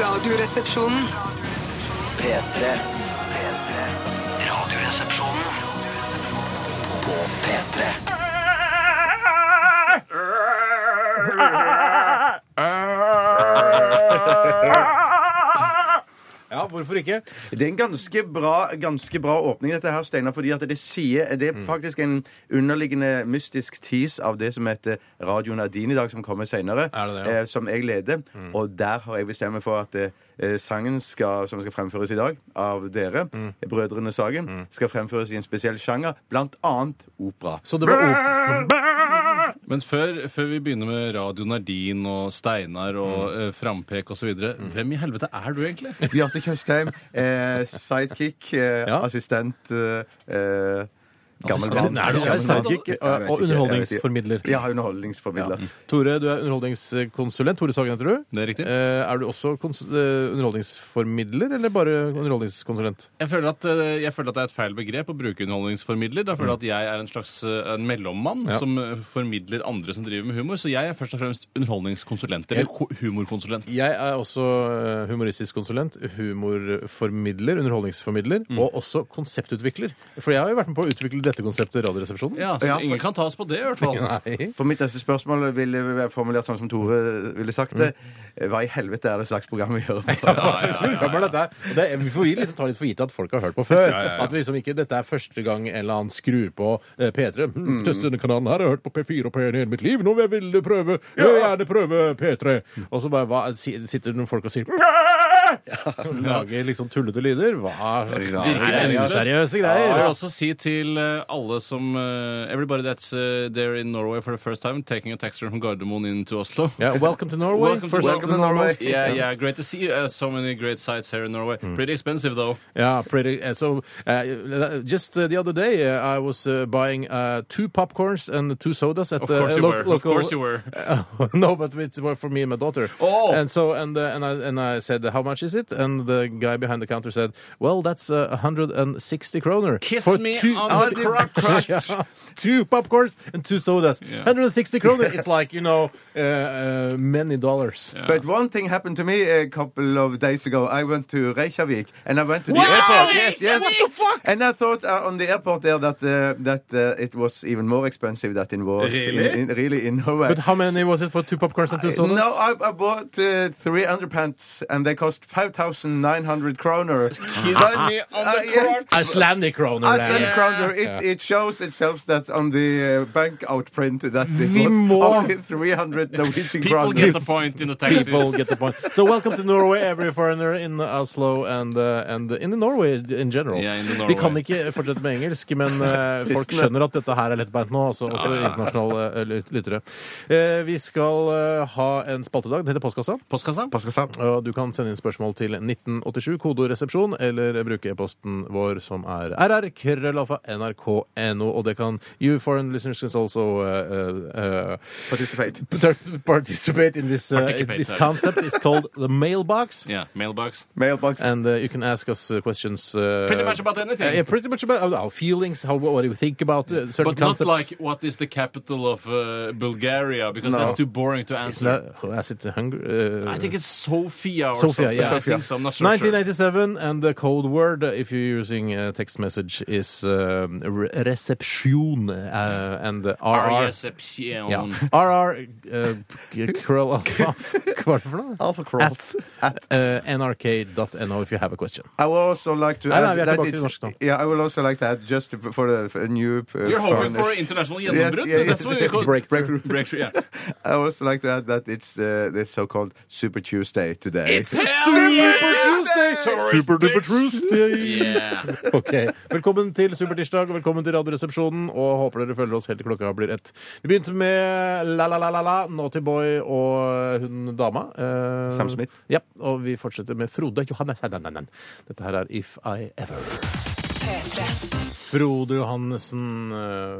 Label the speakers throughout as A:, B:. A: Radioresepsjonen.
B: P3 Radioresepsjonen På P3
C: Ja, hvorfor ikke?
D: Det er en ganske bra, ganske bra åpning, dette her, Steinar. fordi at det sier, det
C: Mm.
D: er faktisk en underliggende mystisk tease av det som heter Radio Nadine i dag, som kommer senere,
C: Er det det, ja? Mm.
D: eh, som jeg leder. Og der har jeg bestemt meg for at eh, sangen skal, som skal fremføres i dag av dere,
C: Mm.
D: Brødrene Sagen, skal fremføres i en spesiell sjanger, blant annet opera.
C: Så det var opp...
E: Men før, før vi begynner med Radio Nardin og Steinar og
C: Mm.
E: eh, Frampek osv., hvem i helvete er du egentlig?
D: Bjarte Tjøstheim, eh, sidekick, eh,
E: Ja.
D: assistent eh, eh, Gammel
E: Assistent?
D: mann.
E: Er du
D: Gammel
E: assistent?
D: mann.
C: Sidekick,
D: Jeg vet
C: og
D: ikke, jeg vet ikke.
C: underholdningsformidler.
D: Ja, underholdningsformidler.
C: Tore, du er underholdningskonsulent. Tore Sagen heter du.
E: Det er riktig.
C: Eh, er du også kons eh, underholdningsformidler, eller bare underholdningskonsulent?
E: Jeg føler, at, eh, jeg føler at det er et feil begrep å bruke underholdningsformidler. Da føler jeg at jeg er en slags eh, en mellommann
C: Mm. Ja.
E: som eh, formidler andre som driver med humor. Så jeg er først og fremst underholdningskonsulent. Eller ko- humorkonsulent.
C: Jeg er også eh, humoristisk konsulent, humorformidler, underholdningsformidler, og også konseptutvikler. For jeg har jo vært med på å utvikle dette konseptet, Radioresepsjonen.
E: Ja, så
D: Ja,
E: Ingen kan ta oss på det, i hvert fall.
C: Nei.
D: For mitt neste spørsmål ville være formulert sånn som Tore ville sagt det.
E: Mm.
D: Hva i helvete er det slags program vi gjør? på?
C: Hva slags program er dette? her? Og Det, er- vi får vi liksom ta litt for gitt at folk har hørt på før.
E: ja, ja.
C: At vi liksom ikke, dette er første gang en eller annen skrur på eh, P3. Mm. Teste denne kanalen her, jeg har hørt på P4 og P1 i hele mitt liv, nå vil jeg ville prøve, jeg vil gjerne prøve P3. Og så bare hva, si- sitter det noen folk og sier Lager liksom tullete lyder. Hva
E: Virker meningsløst.
C: useriøse
E: Jeg
C: greier?
E: vil
C: Ja.
E: også si til eh, alle som eh, Everybody that's eh, there in Norway for the first time, taking a taxi from Gardermoen into Oslo.
C: Ja, welcome to Norway.
E: Welcome to-
C: First
E: welcome
C: and
D: to Norway.
C: foremost.
E: Yeah, yeah, great to see you. Uh, so many great sights here in Norway. Pretty expensive, though.
C: Yeah, pretty. uh, So, uh, just uh, the other day, uh, I was uh, buying uh, two popcorns and two sodas at
E: Of
C: the
E: course
C: uh,
E: you
C: lo-
E: were. Of
C: local.
E: course you were.
C: Uh, no, but it's more for me and my daughter.
E: Oh.
C: And so, and uh, and I and I said, "How much is it?" And the guy behind the counter said, "Well, that's uh, 160 kroner
E: Kiss
C: for
E: me
C: two,
E: on the crack crack.
C: Yeah, two popcorns and two sodas.
E: Yeah.
C: 160 kroner. It's like you know, uh, uh, many dollars."
D: But one thing happened to me a couple of days ago. I went to Reykjavik, and I went to the
E: Wow,
D: airport. Yes, yes.
E: What the fuck?
D: And I thought uh, on the airport there that uh, that uh, it was even more expensive than it was
E: Really?
D: in, in, really in Norway.
C: But how many was it for two popcorns and two sodas?
D: No, I, I bought uh, three underpants, and they cost five thousand nine hundred kroner.
E: me on
D: Uh,
E: the
D: yes.
E: crack.
C: Icelandic kroner.
D: Iceland
C: Larry.
D: Crowder, it,
C: Yeah.
D: it shows itself that on the uh, bank outprint that it
C: Vi
D: was
C: må-
D: only 300 Norwegian
E: People get the
D: kroner.
E: point in the
C: People
E: taxis.
C: get the point. So welcome to Norway, every foreigner in Oslo and, uh, and in Norway in general.
E: Yeah, in the
C: Vi
E: Norway.
C: kan ikke fortsette med engelsk, men eh, folk
D: Kristne.
C: skjønner at dette her er lettbeint nå, altså, også internasjonale eh, lyt- lyttere. Eh, vi skal eh, ha en spaltedag. Den heter Postkassa.
E: Postkassa?
C: Og du kan sende inn spørsmål til 1987, kodoresepsjon, eller bruke e-posten vår som er rr.krøllalfa.nrk.no. Og det kan you foreign listeners can also eh, eh, eh,
D: Participate.
C: part- participate in this, uh,
E: Participate,
C: this
E: sorry.
C: concept is called the mailbox.
E: Yeah, mailbox.
D: Mailbox.
C: And uh, you can ask us uh, questions. Uh,
E: Pretty much about anything.
C: Yeah, pretty much about our feelings, how what do we think about uh, certain
E: But not
C: concepts.
E: like what is the capital of uh, Bulgaria, because
D: No.
E: that's too boring to
C: Is
E: answer.
C: that- oh, is it hungry? Uh,
E: I think it's Sofia
C: Sofia,
E: or something.
C: yeah.
E: I think so. I'm not sure.
C: 1987, and the code word, uh, if you're using a text message, is um, re- reception uh, and uh,
E: E
C: RR.
E: Reception.
C: Ja. RR uh, Krøll alfa. Hva var det for noe?
D: Alpha
C: At, uh, nrk.no if you have a question.
D: I would also like to
C: Nei, nei,
D: add
C: vi er
D: that
C: tilbake til norsk nå.
D: it's, yeah, I would also like to add just to- for the for a new uh,
E: You're hoping for
D: foreigners-
E: international
D: Yes,
E: gjennombrudd?
D: yeah,
E: That's
D: yes,
E: what we call
D: breakthrough.
E: breakthrough. Yeah.
D: I would also like to add that it's uh, the so-called Super Tuesday today.
E: Hell yeah!
C: Super duper Tuesday!
E: Yeah.
C: Ok, Velkommen til Supertirsdag og velkommen til Radioresepsjonen. Og håper dere følger oss helt til klokka blir ett. Vi begynte med La La La La La, Naughty Boy og hun dama. eh,
D: Sam Smith.
C: Ja, Og vi fortsetter med Frode Johannes. Nei, nei, nei, nei. Dette her er If I Ever. Frode Johannessen eh,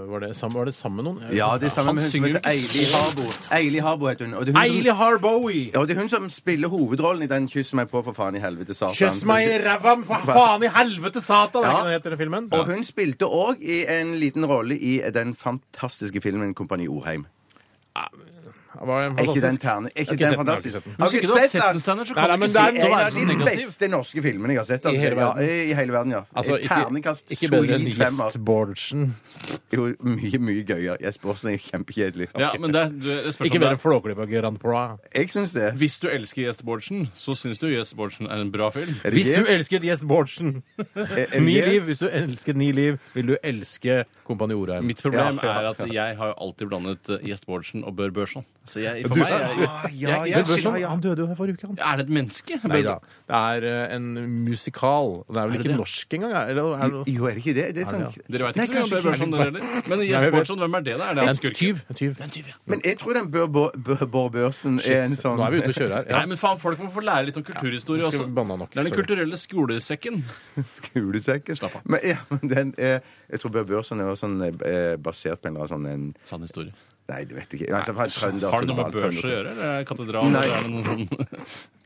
C: Var det sammen, var det sammen med noen?
D: Ja, det er sammen
E: Han
D: med hun som
E: synger jo
D: heter
E: ikke
D: Eili Harbo. Eili Harbo heter hun. Og det er hun,
C: Eili
D: som,
C: Harboe!
D: og det er hun som spiller hovedrollen i den 'Kyss meg på, for faen i helvete, satan'.
C: Kyss meg i ræva, for faen i helvete satan! Er
D: Ja.
C: ikke det den heter, den filmen?
D: Og hun spilte òg en liten rolle i den fantastiske filmen 'Kompani Orheim'.
C: Det var en
D: Er ikke den
C: fantastisk-
D: terne? Er
C: Jeg har
D: ikke
C: ikke
D: den
C: sett den, jeg har ikke
D: fantastisk?
C: sett den.
D: Har
E: Hvis ikke du
D: ikke
E: har
D: sett
E: sett
D: den?
E: den, Steinar,
C: Nei,
E: så
C: nei,
E: kan du
C: men det
E: ikke
C: er-
E: si en
D: en
E: være
D: av
E: så
D: de
E: negativ.
D: beste norske filmene jeg har sett. altså.
C: hele verden.
D: Ja, I hele verden, ja.
C: Altså, ikke-
D: Terningkast
C: Ikke bedre enn
D: solid femmer.
C: Gjestbordsen.
D: Jo, mye, mye gøyere. Jesper Aasen er jo kjempekjedelig.
E: Ja, men det, er- du- det spørs
C: Ikke
E: om det
C: bedre
E: er-
C: enn Flåklypa Grand Prix.
D: Jeg syns det.
E: Hvis du elsker Gjest Bårdsen, så syns du Gjest Bårdsen er en bra film.
D: Er det
C: Hvis du
D: yes?
C: elsket Gjestbordsen!
D: Er- er det
C: Ni
D: yes?
C: liv. Hvis du elsket Ni liv, vil du elske Kompani Orheim.
E: Mitt problem
D: Ja, ja,
E: er at jeg har jo alltid blandet eh, Gjest Bårdsen og Bør Børson. Så jeg, for
C: Du-
E: meg er,
D: Ah, ja,
E: Jeg-
D: ja,
E: jeg-
C: Bør Børson,
D: ja, ja.
C: sånn, han døde jo her forrige uke, han.
E: er det et menneske?
C: Nei da. Det er eh, en musikal. Den er vel
E: det
C: ikke
E: det?
C: norsk engang? er- Eller, er det,
D: Jo, er det ikke det? det er sånn...
E: Dere vet
D: Nei,
E: ikke så mye om
D: kanskje
E: Bør Børson, dere heller. Men Gjest
C: jeg vet.
E: Bårdsen, hvem er det? da? Er det
C: det
E: han
C: er en
E: skurken?
C: tyv. en tyv.
E: En tyv, ja.
D: Men jeg tror den Bør Bør- Bør- Bård Børsen er en
C: Shit.
D: sånn
C: Nå er vi ute og kjører her.
E: Nei, men faen, folk må få lære litt om kulturhistorie
C: nå skal
E: også.
C: vi banne nok,
E: Det er den
C: sorry.
E: kulturelle skolesekken.
D: Skulesekken.
E: Slapp av.
D: Men, ja, men den er, jeg tror Bør Børsen er også sånn, eh, basert på en eller annen sånn en,
E: Sann historie.
D: Nei, det vet jeg ikke. Altså, fra et trønder-
E: Har det noe med
D: trønder-
E: børs å gjøre? Eller er det katedral?
D: Nei.
E: eller er det noen sånn-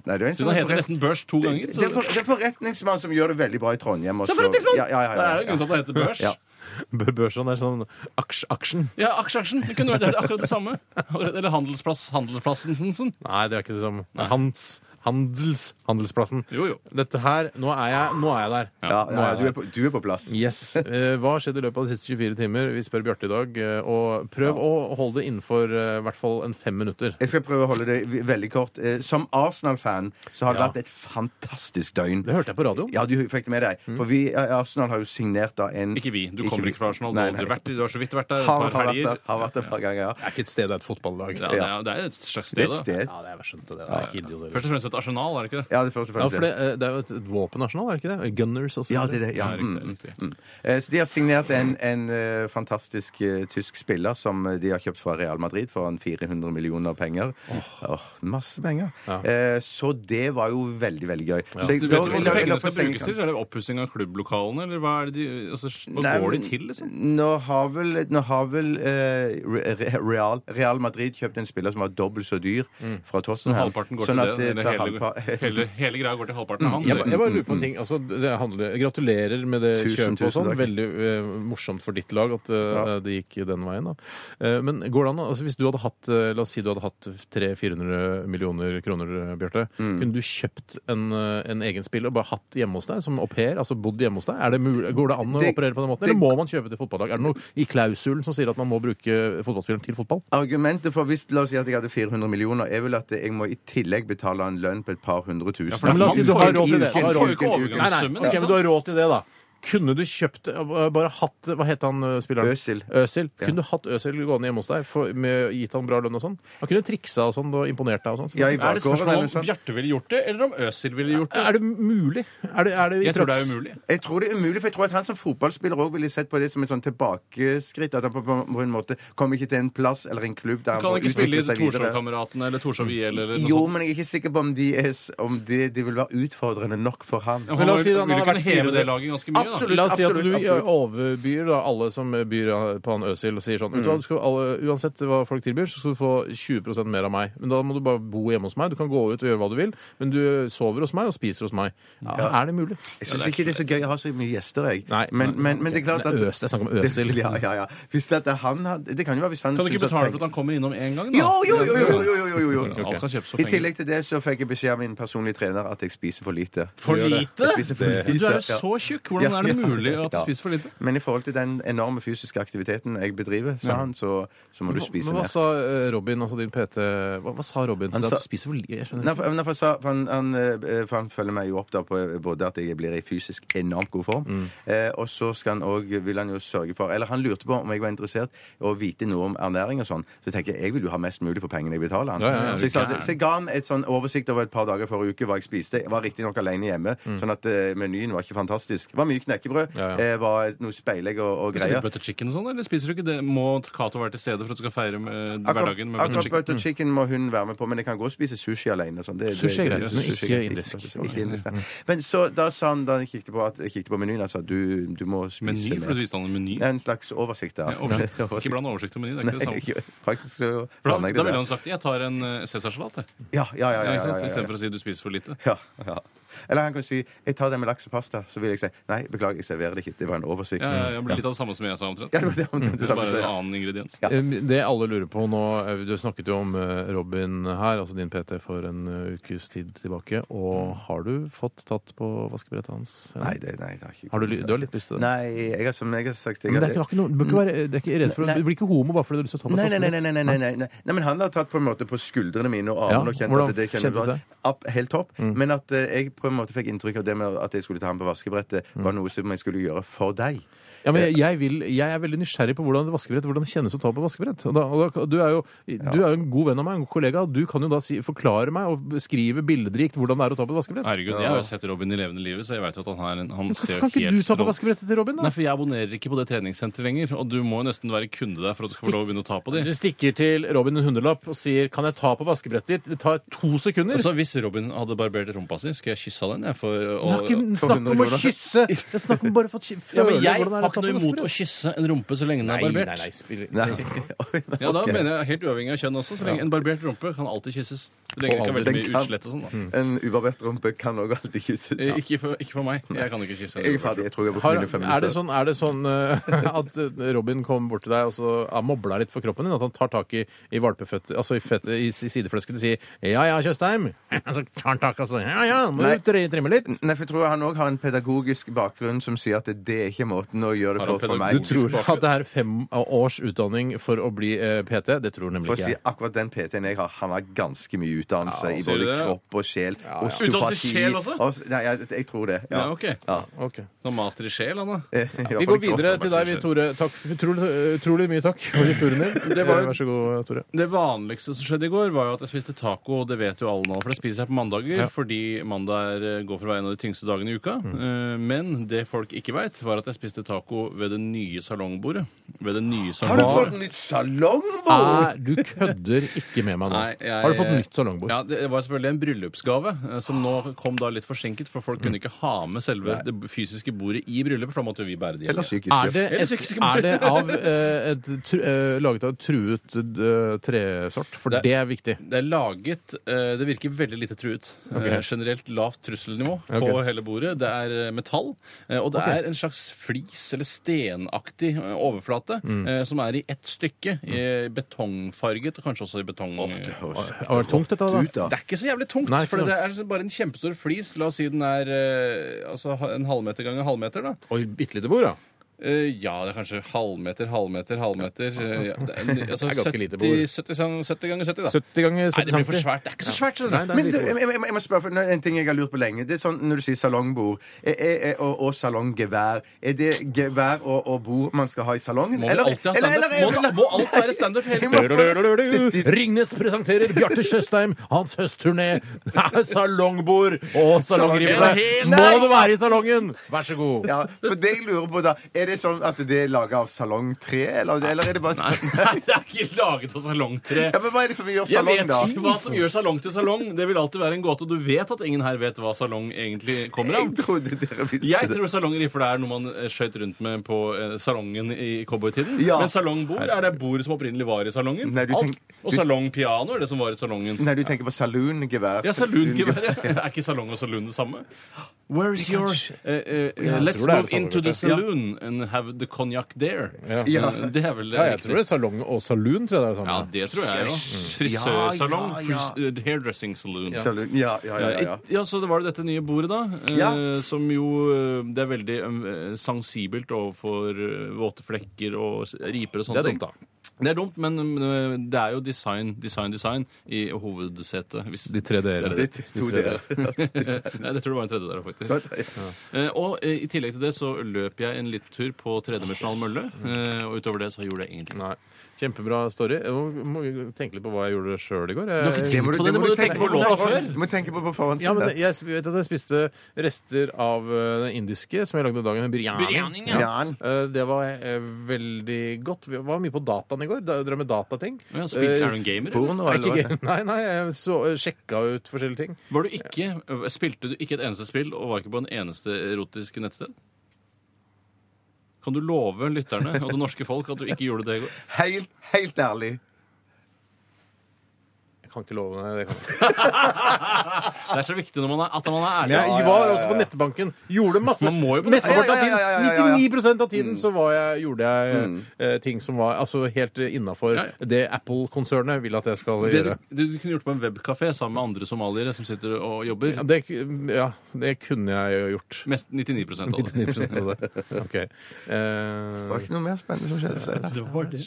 D: Nei, det er en
E: Så
D: sånn
E: nå heter det nesten børs to
D: Det,
E: ganger.
D: det,
E: Så...
D: er for, det er forretningsmann som gjør det veldig bra i Trondheim. og
E: Så
D: så-
E: forretningsmann!
D: Ja, ja, ja,
E: Der
D: ja,
E: er det grunnen til at det heter børs.
D: Ja.
E: Ja,
C: Bør Børson er sånn aksj, aksjen.
E: aksjeaksjen. Det kunne vært det er akkurat det samme. Eller handelsplass, handelsplassen. sånn. Hansen.
C: Nei, det er ikke det samme. Hans, handels, handelsplassen.
E: Jo, jo.
C: Dette her Nå er jeg, nå er jeg der.
D: ja, ja,
C: Nå er
D: ja,
C: jeg
D: du, er
C: der.
D: på, du er på plass.
C: Yes. Eh, Hva har skjedd i løpet av de siste 24 timer? Vi spør Bjarte i dag. eh, Og prøv å holde det innenfor eh, i hvert fall en fem minutter.
D: Jeg skal prøve å holde det v- veldig kort. Eh, Som Arsenal-fan så har det
C: Ja.
D: vært et fantastisk døgn.
C: Det hørte jeg på radioen.
D: Ja, du fikk det med deg. For vi i Arsenal har jo signert da en
E: Mm. Ikke vi. Du kommer
D: vi.
E: ikke fra Arsenal. Du
D: Nei,
E: har aldri
D: nei.
E: vært i- Du har så vidt vært der et
D: Har,
E: par
D: har, vært
E: helger.
D: der, har vært der et par ganger, ja.
C: Det er ikke et sted, det er et fotballag.
E: Ja, det, er, det er jo et slags
D: Det
E: sted,
D: er et
E: da.
D: sted.
C: Ja, det er jeg skjønte det. Det er ikke idioter.
E: Først og fremst et arsenal, er det ikke det?
D: Ja, det er først og
C: Ja,
D: fremst
C: for det, eh, det er jo et våpenarsenal, er det ikke det? Gunners og så
D: Ja,
C: videre.
D: det er det. Ja.
E: Ja,
D: Mm,
E: riktig,
D: mm,
E: riktig.
D: mm. Eh, Så de har signert en, en eh, fantastisk eh, tysk spiller som eh, de har kjøpt fra Real Madrid for en 400 millioner penger. Åh, masse penger. Eh, Så det var jo veldig, veldig gøy. Så jeg-
E: Du vet
D: da-
E: jo hva
D: jeg- jeg-
E: de pengene
D: jeg-
E: skal
D: jeg-
E: brukes til? Så er det oppussing av klubblokalene, eller hva, er det de, altså, hva
D: Nei,
E: går de
D: men
E: til, liksom?
D: Nå har vel, nå har vel eh, Re- Re- Real, Real Madrid kjøpt en spiller som var dobbelt så dyr fra Tottenham.
E: Mm. Halvparten går
D: Sånn
E: til
D: at
E: det.
D: tar
E: Eller hele,
D: halvpa-
E: hele, hele greia går til halvparten av han.
C: Jeg,
E: sier
C: ba- jeg bare lurer på en ting. Altså, det handler, gratulerer med det
D: Mm, Tusen,
C: kjøpet og
D: tusen
C: sånn.
D: takk.
C: Veldig eh, morsomt for ditt lag at eh,
D: Ja.
C: det gikk den veien. Da. Eh, men går det an å- altså, Hvis du hadde hatt eh, La oss si du hadde hatt 300-400 millioner kroner, eh, Bjarte.
D: Mm.
C: Kunne du kjøpt en, eh, en egen spiller og bare hatt hjemme hos deg som au pair? Altså bodd hjemme hos deg? Er det mul går det an å
D: Det-
C: operere på den måten?
D: det-
C: Eller må man kjøpe til fotballag? Er det noe i klausulen som sier at man må bruke fotballspilleren til fotball?
D: Argumentet for hvis la oss si at jeg hadde 400 millioner, er vel at jeg må i tillegg betale en lønn på et par hundre tusen.
E: Ja, for det
C: Men
E: er
C: la oss si
E: han
C: du
E: får
C: har
E: jo-
C: råd til det.
E: Han
C: Har
E: får
C: råd
E: jo ikke
C: til- Nei, nei,
E: overgangssummen.
C: ok, men
E: ikke sant?
C: du har råd til det, da. Kunne du kjøpt øh, Bare hatt Hva het han øh, spilleren?
D: Øsil.
C: Øsil.
D: Ja.
C: Kunne du hatt Øsil gående hjemme hos deg for, med, gitt han bra lønn og sånn? Han kunne triksa og sånn og imponert deg og sånn.
D: Ja, i
E: Er det
D: bakgården eller
E: spørsmål
D: noe
E: om
D: sånt.
E: Bjarte ville gjort det, eller om Øsil ville gjort det?
C: Er det mulig? Er det, er det i
E: Jeg tror det er
C: Trønds-
E: umulig.
D: Jeg tror det er umulig, for jeg tror at han som fotballspiller òg ville sett på det som et sånn tilbakeskritt. At han på, på en måte kom ikke til en plass eller en klubb der han
E: Kan
D: får
E: ikke spille i
D: utvikle seg videre.
E: Torshov-kameratene eller Torshov IL eller noe
D: Jo,
E: sånt.
D: men jeg er ikke sikker på om de, er, s- om de, de vil være utfordrende nok for han.
E: Ja,
C: Men
E: Han
C: la
E: vil
C: oss si
E: vil
C: han
E: jo
C: har
E: kunne
C: vært
E: heve det
C: 400.
E: laget ganske mye. da.
D: Absolutt.
C: La oss si at du
D: absolutt.
C: overbyr da, alle som byr på han Øsil og sier sånn
D: Mm.
C: vet du hva, du skal, alle, Uansett hva folk tilbyr, så skal du få 20 mer av meg. Men da må du bare bo hjemme hos meg. Du kan gå ut og gjøre hva du vil, men du sover hos meg og spiser hos meg. Er det mulig?
D: Jeg syns ikke det er så gøy å ha så mye gjester, jeg.
C: Nei,
D: men,
C: nei,
D: men, men det er klart
C: Men
D: at
C: Øs, jeg snakker om Øsil.
D: Det- Ja, ja, ja. Hvis det, at han hadde, det kan jo være hvis han
E: Kan du ikke
D: syntes at
E: betale
D: peng-
E: for at han kommer innom én gang, da?
D: Jo, jo, jo! jo, jo, jo, jo, jo.
E: Alt kan kjøpes for
D: I
E: penger.
D: tillegg til det så fikk jeg beskjed av min personlige trener at jeg spiser for lite.
E: For lite?
D: Jeg spiser for lite.
E: Men du er jo
D: ja.
E: så tjukk! Hvordan
D: Ja,
E: er det
D: ja.
E: mulig at du
D: Ja.
E: spiser for lite?
D: Men i forhold til den enorme fysiske aktiviteten jeg bedriver, sa han, så, så må du spise
C: Men hva
D: mer.
C: sa eh, Robin, altså din PT Hva, hva sa Robin
D: Han
C: til deg?
D: sa-
C: At du spiser for lite? Jeg skjønner
D: Nei,
C: ikke.
D: for, nei, for, sa- for, han, han, eh, for han følger meg jo opp da på eh, både at jeg blir i fysisk enormt god form,
C: Mm.
D: eh, og så skal han også, vil han jo sørge for Eller han lurte på om jeg var interessert i å vite noe om ernæring og sånn. Så tenker jeg jeg vil jo ha mest mulig for pengene jeg betaler han.
C: Ja, ja, ja,
D: så, jeg sa,
E: du
D: at- så jeg ga han et sånn oversikt over et par dager forrige uke hva jeg spiste. Jeg var riktignok alene hjemme, sånn at eh, menyen var ikke fantastisk. Det var mye knekkebrød,
C: Mm. Ja, ja.
D: eh, var noe speilegg og, og
E: Spiser
D: greier.
E: du butter chicken og sånn, eller spiser du ikke det? Må Cato være til stede for at du skal feire med
D: Akkurat
E: hverdagen med Mm. butter
D: akkurat
E: chicken?
D: butter chicken må hun være med på, men jeg kan gå og spise sushi alene. og Sånn. Det, det-
C: Sushi er greit,
D: det-
C: men
D: sushi
C: ikke
D: er greit.
C: indisk.
D: Ikke indisk, nei.
E: Mm.
D: Men så da sa han, da han kikket på, at, kikket på menyen, altså du, du må
E: Meny,
D: spise
E: for du
D: mer.
E: viste han en meny.
D: Det er en slags oversikt, da.
E: Ja, oversikt.
D: Oversikt.
E: Ikke bland oversikt og meny, det er
D: Nei,
E: ikke det samme.
D: ikke- faktisk så
E: For Da,
D: planlegger jeg
E: da ville
D: det.
E: han sagt 'jeg tar en eh, cæsarsalat', jeg.
D: Ja, ja, ja. ja, ja, ja, ja,
E: Istedenfor
D: ja.
E: å si 'du spiser for lite'.
D: Ja, ja. Eller han kan si 'jeg tar det med laks og pasta', så vil jeg si 'nei, beklager, jeg serverer det ikke'. Det var en oversikt.
E: Ja, ja, ja, det blir litt av det samme som jeg sa, omtrent.
D: Ja, det var det, omtrent det samme
E: Bare
D: som
E: en
D: jeg-
E: annen ingrediens.
D: Ja.
C: Eh, Det alle lurer på nå eh, Du snakket jo om eh, Robin her, altså din PT, for en eh, ukes tid tilbake. Og har du fått tatt på vaskebrettet hans?
D: Mm. Nei, det, nei, det har ikke
C: Har du, ly- du har litt lyst til det?
D: Nei, jeg har, som jeg har sagt jeg
C: Men det
D: har-
C: er
D: Mm.
C: ikke, har ikke noe, du, bør ikke være, det er ikke redd for,
D: Nei.
C: du blir ikke homo bare fordi du har lyst til å ta på
D: Nei,
C: et
D: nei, nei, nei,
C: vaskebrett.
D: nei, nei, nei, nei. nei, men han har tatt på en måte på skuldrene mine og
C: Ja,
D: armene og kjent
C: hvordan
D: at det
C: kjentes
D: kjennes
C: det? Mm.
D: Opp, helt topp. Men at eh, jeg på en måte fikk inntrykk av det med at jeg skulle ta ham på vaskebrettet,
C: Mm.
D: var noe som jeg skulle gjøre for deg.
C: Ja, men jeg, jeg, vil, jeg er veldig nysgjerrig på hvordan et vaskebrett, hvordan det kjennes å ta på vaskebrett. Og da, og da, du, er jo, du er jo en god venn av meg, en god kollega. og Du kan jo da si, forklare meg og beskrive bilderikt hvordan det er å ta på et vaskebrett.
E: Herregud, jeg har jo sett Robin i levende livet, så jeg vet jo at han, er en, han ser jo
C: Kan ikke
E: helt
C: du ta på
E: strå-
C: vaskebrettet til Robin,
E: Nei,
C: da?
E: for jeg abonnerer ikke på det treningssenteret lenger, og du må jo nesten være kunde der for at du skal få lov å begynne å ta på de.
C: Du stikker til Robin en hundrelapp og sier 'Kan jeg ta på vaskebrettet ditt?' Det tar to sekunder.
E: Altså, hvis Robin hadde barbert rumpa si, skulle jeg kyssa den, jeg, for
C: det er ikke snakk om å
D: 200 kroner.
C: kysse! Det er snakk om bare å få ky-
E: ja,
C: føle
E: men
C: hvordan det er
E: jeg har
C: å ta på
E: ikke noe imot å
C: vaskebrettet.
E: kysse en rumpe så lenge den er barbert.
C: spiller
D: Nei.
E: Ja, da
D: Ok.
E: mener jeg helt uavhengig av kjønn også. Så lenge En barbert rumpe kan alltid kysses. Du trenger ikke ha veldig
D: Den
E: mye
D: kan-
E: utslett og sånn.
C: Mm.
E: da.
D: En ubarbert rumpe kan òg alltid kysses.
E: Eh, Ikke, for, ikke for meg. Jeg kan ikke kysse en
D: Jeg er
E: barbert
D: ferdig. Jeg tror jeg har brukt
C: Har,
D: mine fem
C: er
D: minutter.
C: det sånn, er det sånn eh, at Robin kommer bort til deg og så ja, mobler deg litt for kroppen din? At han tar tak i, i valpeføttet, altså i, fettet, i, i sideflesket og sier 'ja ja, Tjøstheim'? Så tar han tak og så 'ja ja, må
D: Nei.
C: du tri- trimme litt'?
D: Nei, for jeg tror han òg har en pedagogisk bakgrunn som sier at det er ikke måten å gjøre det
E: Har
D: på
E: han
D: for meg.
E: pedagogisk
C: Tror du
E: bakgrunn?
C: at det er fem års utdanning for å bli eh, PT? Det
D: For
C: tror nemlig
D: å
C: ikke
D: si
C: jeg.
D: akkurat den PT-en jeg har, han har ganske mye utdannelse
E: Ja,
D: i
E: sier du
D: både
E: det?
D: kropp og sjel.
C: ja.
D: Osteopati
E: Utdannelse i sjel også?
D: os- Nei, jeg, jeg tror det.
E: Ja, ok.
C: Ok.
E: Nå master i sjel, han da.
C: Vi går videre til deg, vi, Tore. Takk, utrolig, utrolig mye takk for historien din. Eh,
E: Det var jo-
C: Vær så god, Tore.
E: Det vanligste som skjedde i går, var jo at jeg spiste taco. og Det vet jo alle nå, for det spiser jeg på mandager. Fordi mandag er, eh, går for å være en av de tyngste dagene i uka.
C: Mm.
E: Eh, Men det folk ikke veit, var at jeg spiste taco ved det nye salongbordet. Ved det nye
D: Har du
E: salongbordet.
D: fått nytt salongbord?
C: Nei, du kødder ikke med meg nå.
E: Nei, jeg-
C: Har du fått nytt salongbord?
E: Ja, Det var selvfølgelig en bryllupsgave, eh, som nå kom da litt forsinket, for folk
C: Mm.
E: kunne ikke ha med selve det fysiske bordet i bryllupet, for da måtte jo vi bære Ah, det
D: Eller
E: hjem.
D: psykisk
C: Er det,
E: Eller
C: et,
E: psykiske
C: er
E: mord.
C: det av, eh, et, tru- eh, laget av et truet eh, tresort? For
E: Det-
C: det er viktig.
E: Det er laget eh, Det virker veldig lite truet. Eh, Generelt lavt trusselnivå på
C: Ok.
E: hele bordet. Det er eh, metall, eh, og det er en slags flis eller stenaktig eh, overflate
C: Mm.
E: eh, som er i ett stykke. i Betongfarget, og kanskje også i betong...
C: Det har vært tungt, dette. da.
D: ut, da.
E: Det er ikke så jævlig tungt.
C: Nei, ikke
E: for det
C: sant.
E: er liksom bare en kjempestor flis. La oss si den er eh, altså, ha- en halvmeter ganger halvmeter. da.
C: Oi, bitte lite bord, ja.
E: Eh, ja, det er kanskje halvmeter, halvmeter, halvmeter. eh, ja, det, er, altså,
C: Det er ganske lite
E: 70,
C: bord.
E: 70, sang- 70 ganger 70, da.
C: 70 ganger
E: Nei,
C: 70
E: det blir for svært. Det er ikke så svært. skjønner du.
C: Nei, det er
D: Men du,
C: lite
D: jeg,
C: bord.
D: jeg, jeg må spørre, for nå- en ting jeg har lurt på lenge. Det er sånn Når du sier salongbord eh, eh, eh, og, og salonggevær, er det gevær og, og bord man skal ha i salongen?
E: Må vi alltid ha standup? Må det- må alt være standup hele tiden?
C: Ringnes presenterer Bjarte Tjøstheim, hans høstturné, salongbord og salongrive.
D: En hel-
C: Må du være i salongen? Vær så god.
D: Ja, for det jeg lurer på da Er det sånn at det er laget av salongtre, eller, eller er det bare sånn-
E: Nei, det er ikke laget av salongtre.
D: Ja, men Hva er det som gjør
E: Jeg vet
D: salong, da?
E: ikke hva som gjør salong til salong. Det vil alltid være en gåte. og Du vet at ingen her vet hva salong egentlig kommer
D: Jeg
E: av.
D: trodde dere visste
E: Jeg tror salongrifle er noe man eh, skøyt rundt med på eh, salongen i cowboytiden.
D: Ja.
E: Men salongbord er det bordet som opprinnelig var i salongen.
D: Nei, du
E: Alt.
D: tenk-
E: Og
D: du-
E: salongpiano er det som var i salongen.
D: Nei, du tenker på saloongevær.
E: Ja, salongevær. ja. Er ikke salong og saloon det samme? Where's your eh, eh,
C: tror det er
E: Let's move
C: det samme,
E: into the
C: Bjarte.
E: saloon and have the cognac there.
D: Ja.
E: Eh, Det er vel
C: Ja, jeg
E: riktig.
C: tror det er salong og saloon. tror jeg det er sånn. det
E: Ja,
C: samme.
E: det tror jeg jo. Frisørsalong. fris- eh, Hairdressing saloon. Ja.
D: Saloon, ja, ja, ja, ja.
E: så det var det dette nye bordet, da. eh,
D: Ja.
E: Som jo eh, Det er veldig eh, sensibelt overfor eh, våte flekker og s- riper
C: Det
E: og sånne
C: er dumt, da.
E: Det er dumt, men eh, det er jo design, design, design i hovedsetet. Hvis
C: De tre
E: Det er
C: dere.
E: det.
D: Det er to deler.
E: Nei, jeg tror det var en tredje der, faktisk. Eh, og eh, i tillegg til det så løp jeg en liten tur på tredimensjonal mølle. eh, og utover det så gjorde jeg ingenting.
C: Nei. Kjempebra story. Jeg må- må tenke litt på hva jeg gjorde sjøl i går. Jeg,
E: Det må du- det må du tenke på låta før.
D: Du må tenke på på forhånd.
C: Ja, men det, jeg vet at jeg spiste rester av eh, den indiske som jeg lagde dagen med biryani.
E: Biryani, ja.
D: Jan.
C: Eh, Det var eh, veldig godt. Vi var mye på dataen i går. da- Drev med datating.
E: Ja, spilte
C: Eh,
E: Aaron Gamer? eller?
D: Porno,
C: Nei,
D: eller? hva?
C: ikke gøy. Nei, nei, jeg så, sjekka ut forskjellige ting.
E: Var du ikke, spilte du ikke et eneste spill og var ikke på en eneste erotisk nettsted? Kan du love lytterne og det norske folk at du ikke gjorde det i går?
D: Helt, helt ærlig.
C: Jeg kan ikke love deg det. Kan. jeg ikke.
E: Det er så viktig når man er, at man er
C: Men
E: ærlig.
C: jeg var også på nettbanken. Gjorde masse.
E: Man må jo på
C: Mesteparten av
D: nettbanken.
C: tiden,
D: Ja, ja, ja, ja, ja, ja. Mm.
C: 99 av tiden så var jeg, gjorde jeg eh, eh, ting som var altså, helt innafor
E: Ja, ja.
C: det Apple-konsernet vil at jeg skal
E: Det
C: gjøre.
E: du, du kunne gjort på en webkafé sammen med andre somaliere som sitter og jobber.
C: Ja, det, ja, det kunne jeg jo gjort.
E: Mest 99 av det.
C: 99 av det. OK.
D: Det var
C: Eh,
D: ikke noe mer spennende som skjedde. Steinar.
E: Det var det.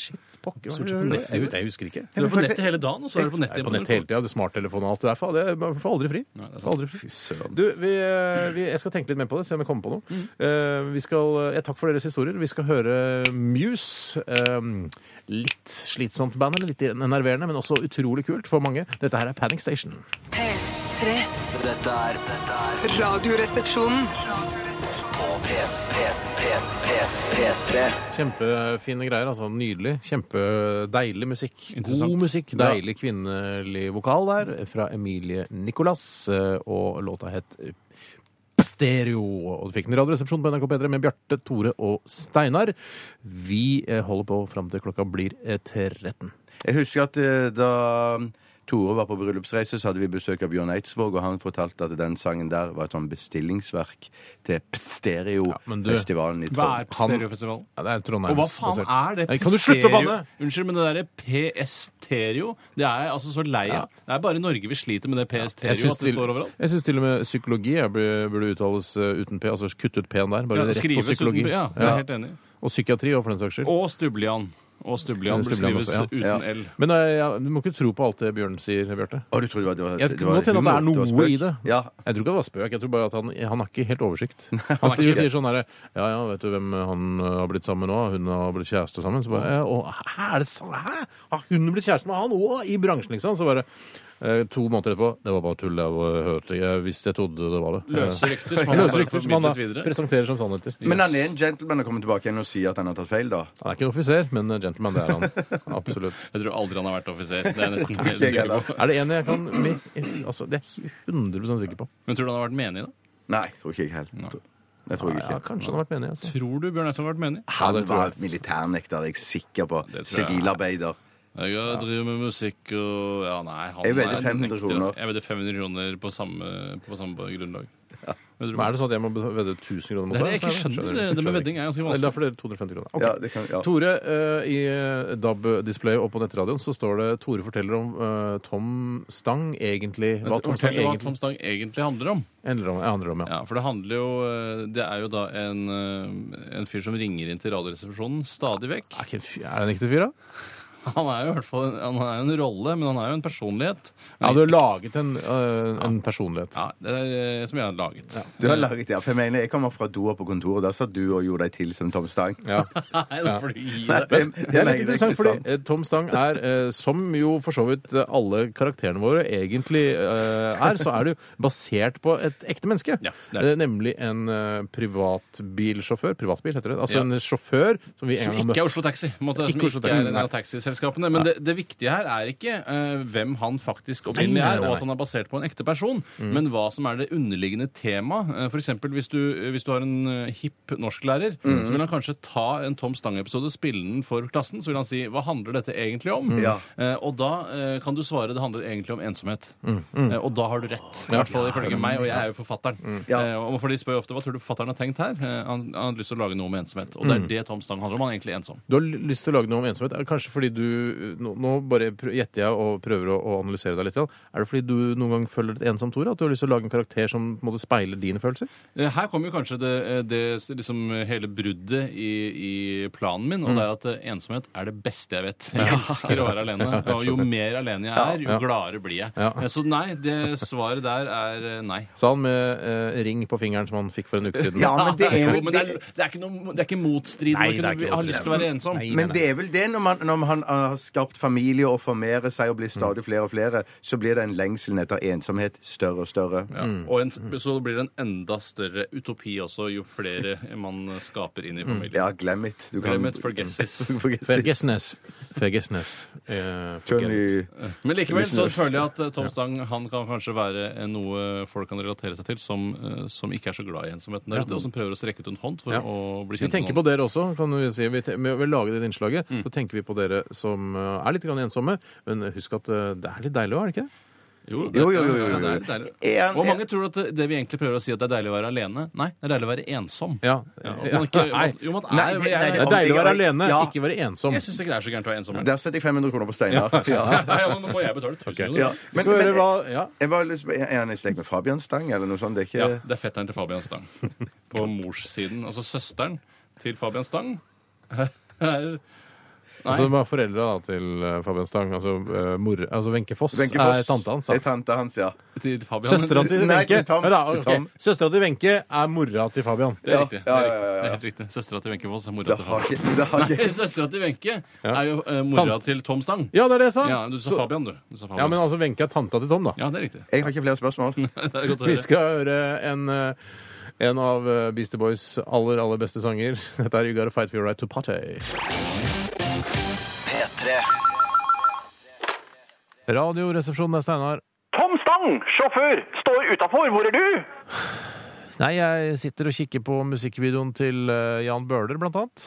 C: pokker, hva
E: Stort sett
C: gjør
E: på
C: du?
E: nettet.
C: Jeg, vet- jeg husker ikke.
E: Du er på nettet hele dagen, og så er du på nettet
C: Jeg er på nett hele tida. Smarttelefonen og alt det der. Faen, jeg- Man får aldri fri.
E: Nei, det er sant.
C: Får aldri fri.
D: Fy søren.
C: Du, vi, eh, vi, jeg skal tenke litt mer på det, se om jeg kommer på noe. Eh, vi skal, eh, takk for deres historier. Vi skal høre Muse. eh, litt slitsomt band, eller litt enerverende, men også utrolig kult for mange. Dette her er Panic Station.
A: P3.
B: Dette er dette er
A: Radioresepsjonen.
B: på P, P, P, P, P3.
C: Kjempefine greier. altså Nydelig. Kjempedeilig musikk. God
E: Interessant.
C: musikk.
E: Ja.
C: Deilig kvinnelig vokal der fra Emilie Nicolas, eh, og låta het Stereo. Og du fikk den i Radioresepsjonen på NRK P3 med Bjarte, Tore og Steinar. Vi eh, holder på fram til klokka blir eh, 13.
D: Jeg husker at eh, da Tore var på bryllupsreise, så hadde vi besøk av Bjørn Eidsvåg, og han fortalte at den sangen der var et sånn bestillingsverk til
C: Ja, men du-
D: Pstereo-festivalen i
E: Hva
D: Trondheim.
E: er stereofestivalen?
C: Ja, det er
E: Og
C: Trondheims
E: hva faen er det?
C: Nei, Kan du slutte å
E: P-stereo?
C: banne?
E: E Unnskyld, men det derre PS-stereo, det er jeg altså så lei av. Det er bare i Norge vi sliter med det
C: Jeg
E: PS-stereo
C: syns
E: E at det
C: til,
E: står overalt.
C: jeg syns til og med psykologi jeg burde, burde uttales eh, uten P. Altså kutt ut P-en der. Bare
E: Ja,
C: rett på
E: skrives
C: psykologi.
E: uten- Ja, jeg er helt enig.
C: Og psykiatri òg, for den saks skyld.
E: Og Stublian. Og Stublian burde
C: Stublian
E: skrives
C: også, ja.
E: uten
D: Ja.
E: L.
C: Men eh, ja, du må ikke tro på alt det Bjørn sier, Bjarte.
D: Å, du trodde det var,
C: Jeg
D: det
C: tror
D: var
C: godt hende at det er
D: humor,
C: noe
D: spøk?
C: i det.
D: Ja.
C: Jeg tror ikke det var spøk, jeg tror bare at han, han har ikke helt oversikt. Han,
E: har
C: sier-
E: ikke
C: sier sånn herre Ja ja, vet du hvem han eh, har blitt sammen med nå? Hun har blitt kjæreste sammen. Så bare, «Ja, og, Hæ, er det sant? Hæ? Har hun blitt kjæreste med han òg? I bransjen, liksom? Så bare eh, To måneder etterpå Det var bare tull, jeg var- hørte jeg, hvis jeg trodde det var det.
E: Løse rykter som
C: Eh,
E: han har
C: løse
E: bare
C: rykter som han
E: formidlet
C: da
E: videre.
C: presenterer som sannheter.
D: Men han er en gentleman og kommer tilbake igjen og sier at han har tatt feil, da.
C: Han er ikke en offiser, men eh, gentleman, det er han. Absolutt.
E: Jeg tror aldri han har vært offiser. Det er jeg nesten helt
D: jeg
E: sikker på.
C: Er det en jeg kan med, altså, Det er jeg 100 sikker på.
E: Men tror du han har vært menig, da?
D: Nei, tror ikke jeg heller. Det tror jeg
C: Ja,
D: ikke.
C: kanskje han har vært menig. Altså.
E: Tror du Bjørn Eidsvåg har vært menig?
D: Han
C: Ja, det tror jeg.
D: var militærnekter, det er jeg sikker på.
E: det tror jeg.
D: Sivilarbeider.
E: Jeg driver med musikk og Ja, nei, han
D: Jeg vedder
E: er en
D: 500
E: ekte-
D: kroner.
E: Jeg vedder 500 kroner på samme, på samme grunnlag. Vedder
C: Men
E: du på-
C: er det sånn at jeg må vedde 1000 kroner mot
E: Det er
C: deg,
E: det jeg ikke
C: så er
E: skjønner. Det med vedding er ganske vanskelig.
C: Eller derfor det er 250 kroner. Ok.
D: Ja, det kan- ja.
C: Tore, eh, i eh, DAB-displayet og på nettradioen så står det Tore forteller om eh, Tom Stang egentlig Hva Tom Stang
E: Fortell hva
C: egentlig
E: Tom Stang egentlig handler om.
C: handler om. handler om, ja.
E: Ja, For det handler jo eh, Det er jo da en, eh, en fyr som ringer inn til Radioresepsjonen stadig vekk.
C: Er, ikke en fyr- er det en ekte fyr, da?
E: Han er jo i hvert fall en, han er jo en rolle, men han er jo en personlighet.
C: Ja, du har laget en, eh, en personlighet.
E: Ja, det er eh, som jeg har laget.
D: Du har laget det, ja. For jeg mener, jeg kommer fra doa på kontoret, da satt du og gjorde deg til som Tom Stang.
E: Nei, da får du gi
D: Nei,
E: deg.
D: det-
C: Det
D: mener
C: er litt
D: jeg
C: interessant,
D: ikke
C: fordi
D: sant.
C: eh, Tom Stang er, eh, som jo for så vidt eh, alle karakterene våre egentlig eh, er, så er det jo basert på et ekte menneske.
E: Ja, det er det.
C: Eh, Nemlig en eh, privatbilsjåfør. Privatbil heter det. Altså
E: Ja.
C: en sjåfør som vi en gang
E: Som
C: har
E: ikke
C: møtt.
E: er Oslo Taxi. på en Måte,
C: Ikke
E: som
C: Oslo
E: ikke
C: Taxi,
E: er en
C: nei.
E: av taxiselskapene. Men det, det viktige her er ikke eh, hvem han faktisk
C: Nei, nei,
E: opprinnelig
C: nei,
E: er, og
C: nei. Mm.
E: at han er basert på en ekte person, men hva som er det underliggende temaet. Uh, for eksempel hvis du, hvis du har en eh, hipp norsklærer,
C: Mm.
E: så vil han kanskje ta en Tom Stang-episode, spille den for klassen, så vil han si hva handler dette egentlig om?
C: Mm.
D: Ja.
E: Eh, og da eh, kan du svare det handler egentlig om ensomhet. Eh, og da har du rett. I hvert fall ifølge meg, og jeg er jo forfatteren.
D: Ja.
E: Eh, og for de spør jo ofte hva tror du forfatteren har tenkt her? Eh, han, han har lyst til å lage noe om ensomhet. Og det er det Tom Stang handler om. Han er egentlig ensom.
C: Du har lyst til å lage noe om ensomhet. Er det Kanskje fordi du Nå, nå bare prø- gjetter jeg og prøver å, å analysere deg litt. grann. Er det fordi du noen gang føler et ensomt ord? At du har lyst til å lage en karakter som på en måte speiler dine følelser?
E: Eh, Her kommer jo kanskje det, eh, det liksom hele bruddet i, i planen min, og det er at eh, ensomhet er det beste jeg vet. Jeg elsker å være alene, og jo mer alene jeg er, jo gladere blir jeg.
C: Ja.
E: Eh, Så nei, det svaret der er eh, nei.
C: Sa han med eh, ring på fingeren som han fikk for en uke siden.
D: Ja, men det er
E: Jo,
D: jo
E: men det er, det er ikke, noe, det er ikke motstridende.
C: Nei,
E: Man
C: det er
E: kunne-
C: ikke motstridende.
E: har lyst til å være ensom.
C: Nei.
D: Men det er vel det, når man, når man har skapt familie og formerer seg og blir stadig flere og flere, så blir den lengselen etter ensomhet større og større.
E: Ja. Og en, så blir det en enda større utopi også, jo flere man skaper inn i familien.
D: Mm. Ja, glem it. Du
E: Glem et forgets this.
D: Forget it.
C: Fergesnes. Fergesnes. Eh, forget.
D: Johnny
E: Men likevel så
D: Listeners.
E: føler jeg at eh, Tom Stang han kan kanskje være eh, noe folk kan relatere seg til, som, eh, som ikke er så glad i ensomheten der ute, og som prøver å strekke ut en hånd for
C: Ja.
E: å bli
C: Vi
E: kjent
C: tenker på dere også. kan vi si. Vi te- Med å lage dette innslaget
E: Mm.
C: så tenker vi på dere som eh, er litt grann ensomme. Men husk at eh, det er litt deilig òg, er det ikke? det?
E: Jo, det,
D: Jo, jo, jo. jo,
E: ja,
D: jo.
E: det er litt deilig.
D: Er-
E: Og mange tror at det vi egentlig prøver å si, at det er deilig å være alene. Nei, det er deilig å være ensom.
C: Ja.
E: Ja, og man ikke,
C: Nei.
E: jo, man er,
D: Nei, det- nei,
C: Det er deilig å være alene,
D: Ja.
C: ikke være ensom.
E: Jeg syns ikke det er så gærent å være ensom.
D: Der setter jeg 500 kroner på Steinar.
E: Ja,
D: Ja.
E: ja, men nå må jeg betale 1000 kroner.
D: Ja.
C: Skal vi høre hva- ja.
D: jeg var lyst, er han i slekt med Fabian Stang eller noe sånt? Det er ikke
E: Ja, det er fetteren til Fabian Stang. På morssiden. Altså søsteren til Fabian Stang er
C: Altså, de var foreldre da, til eh, Fabian Stang. Altså, eh, mor, altså Wenche Foss,
D: Wenche
C: er
D: Foss.
C: tante hans.
D: Er
C: da.
D: tante hans, ja.
E: til Fabian.
C: Søstera til
D: Nei,
C: Wenche
D: til Tom.
C: Nei, da,
D: Til
C: ok.
D: Tom.
C: Søstera til Wenche er mora til Fabian.
E: Det er
D: Ja,
E: riktig. det
D: ja,
E: er
D: ja, ja,
E: riktig,
D: ja.
E: det er helt riktig. Søstera til Wenche Foss er mora
D: Det
E: til
D: har
E: Fabian.
D: ikke, det har ikke.
E: Nei, søstera til Wenche er jo eh, mora
C: Tante.
E: til Tom Stang.
C: Ja, det er det jeg sa!
E: Ja, du sa
C: Så-
E: Fabian, du. du sa Fabian.
C: ja, men altså, Wenche er tanta til Tom, da.
E: Ja, det er riktig.
D: Jeg har ikke flere spørsmål.
E: Det er godt å
C: Vi
E: høre.
C: skal høre en, eh, en av eh, Beastie Boys' aller, aller beste sanger. Dette er You Gotta Fight For Your Right To Party.
B: P3.
C: Radioresepsjonen, det er Steinar.
F: Tom Stang, sjåfør, står utafor. Hvor er du?
C: Nei, jeg sitter og kikker på musikkvideoen til eh, Jan Bøhler, blant annet.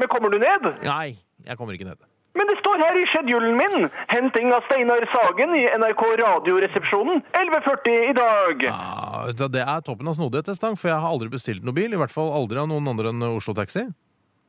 F: Men kommer du ned?
C: Nei, jeg kommer ikke ned.
F: Men det står her i schedulen min. Henting av Steinar Sagen i NRK Radioresepsjonen 11.40 i dag.
C: Ja, vet du hva, det er toppen av snodighet, det, Stang, for jeg har aldri bestilt noen bil. I hvert fall aldri av noen andre enn eh, Oslo Taxi.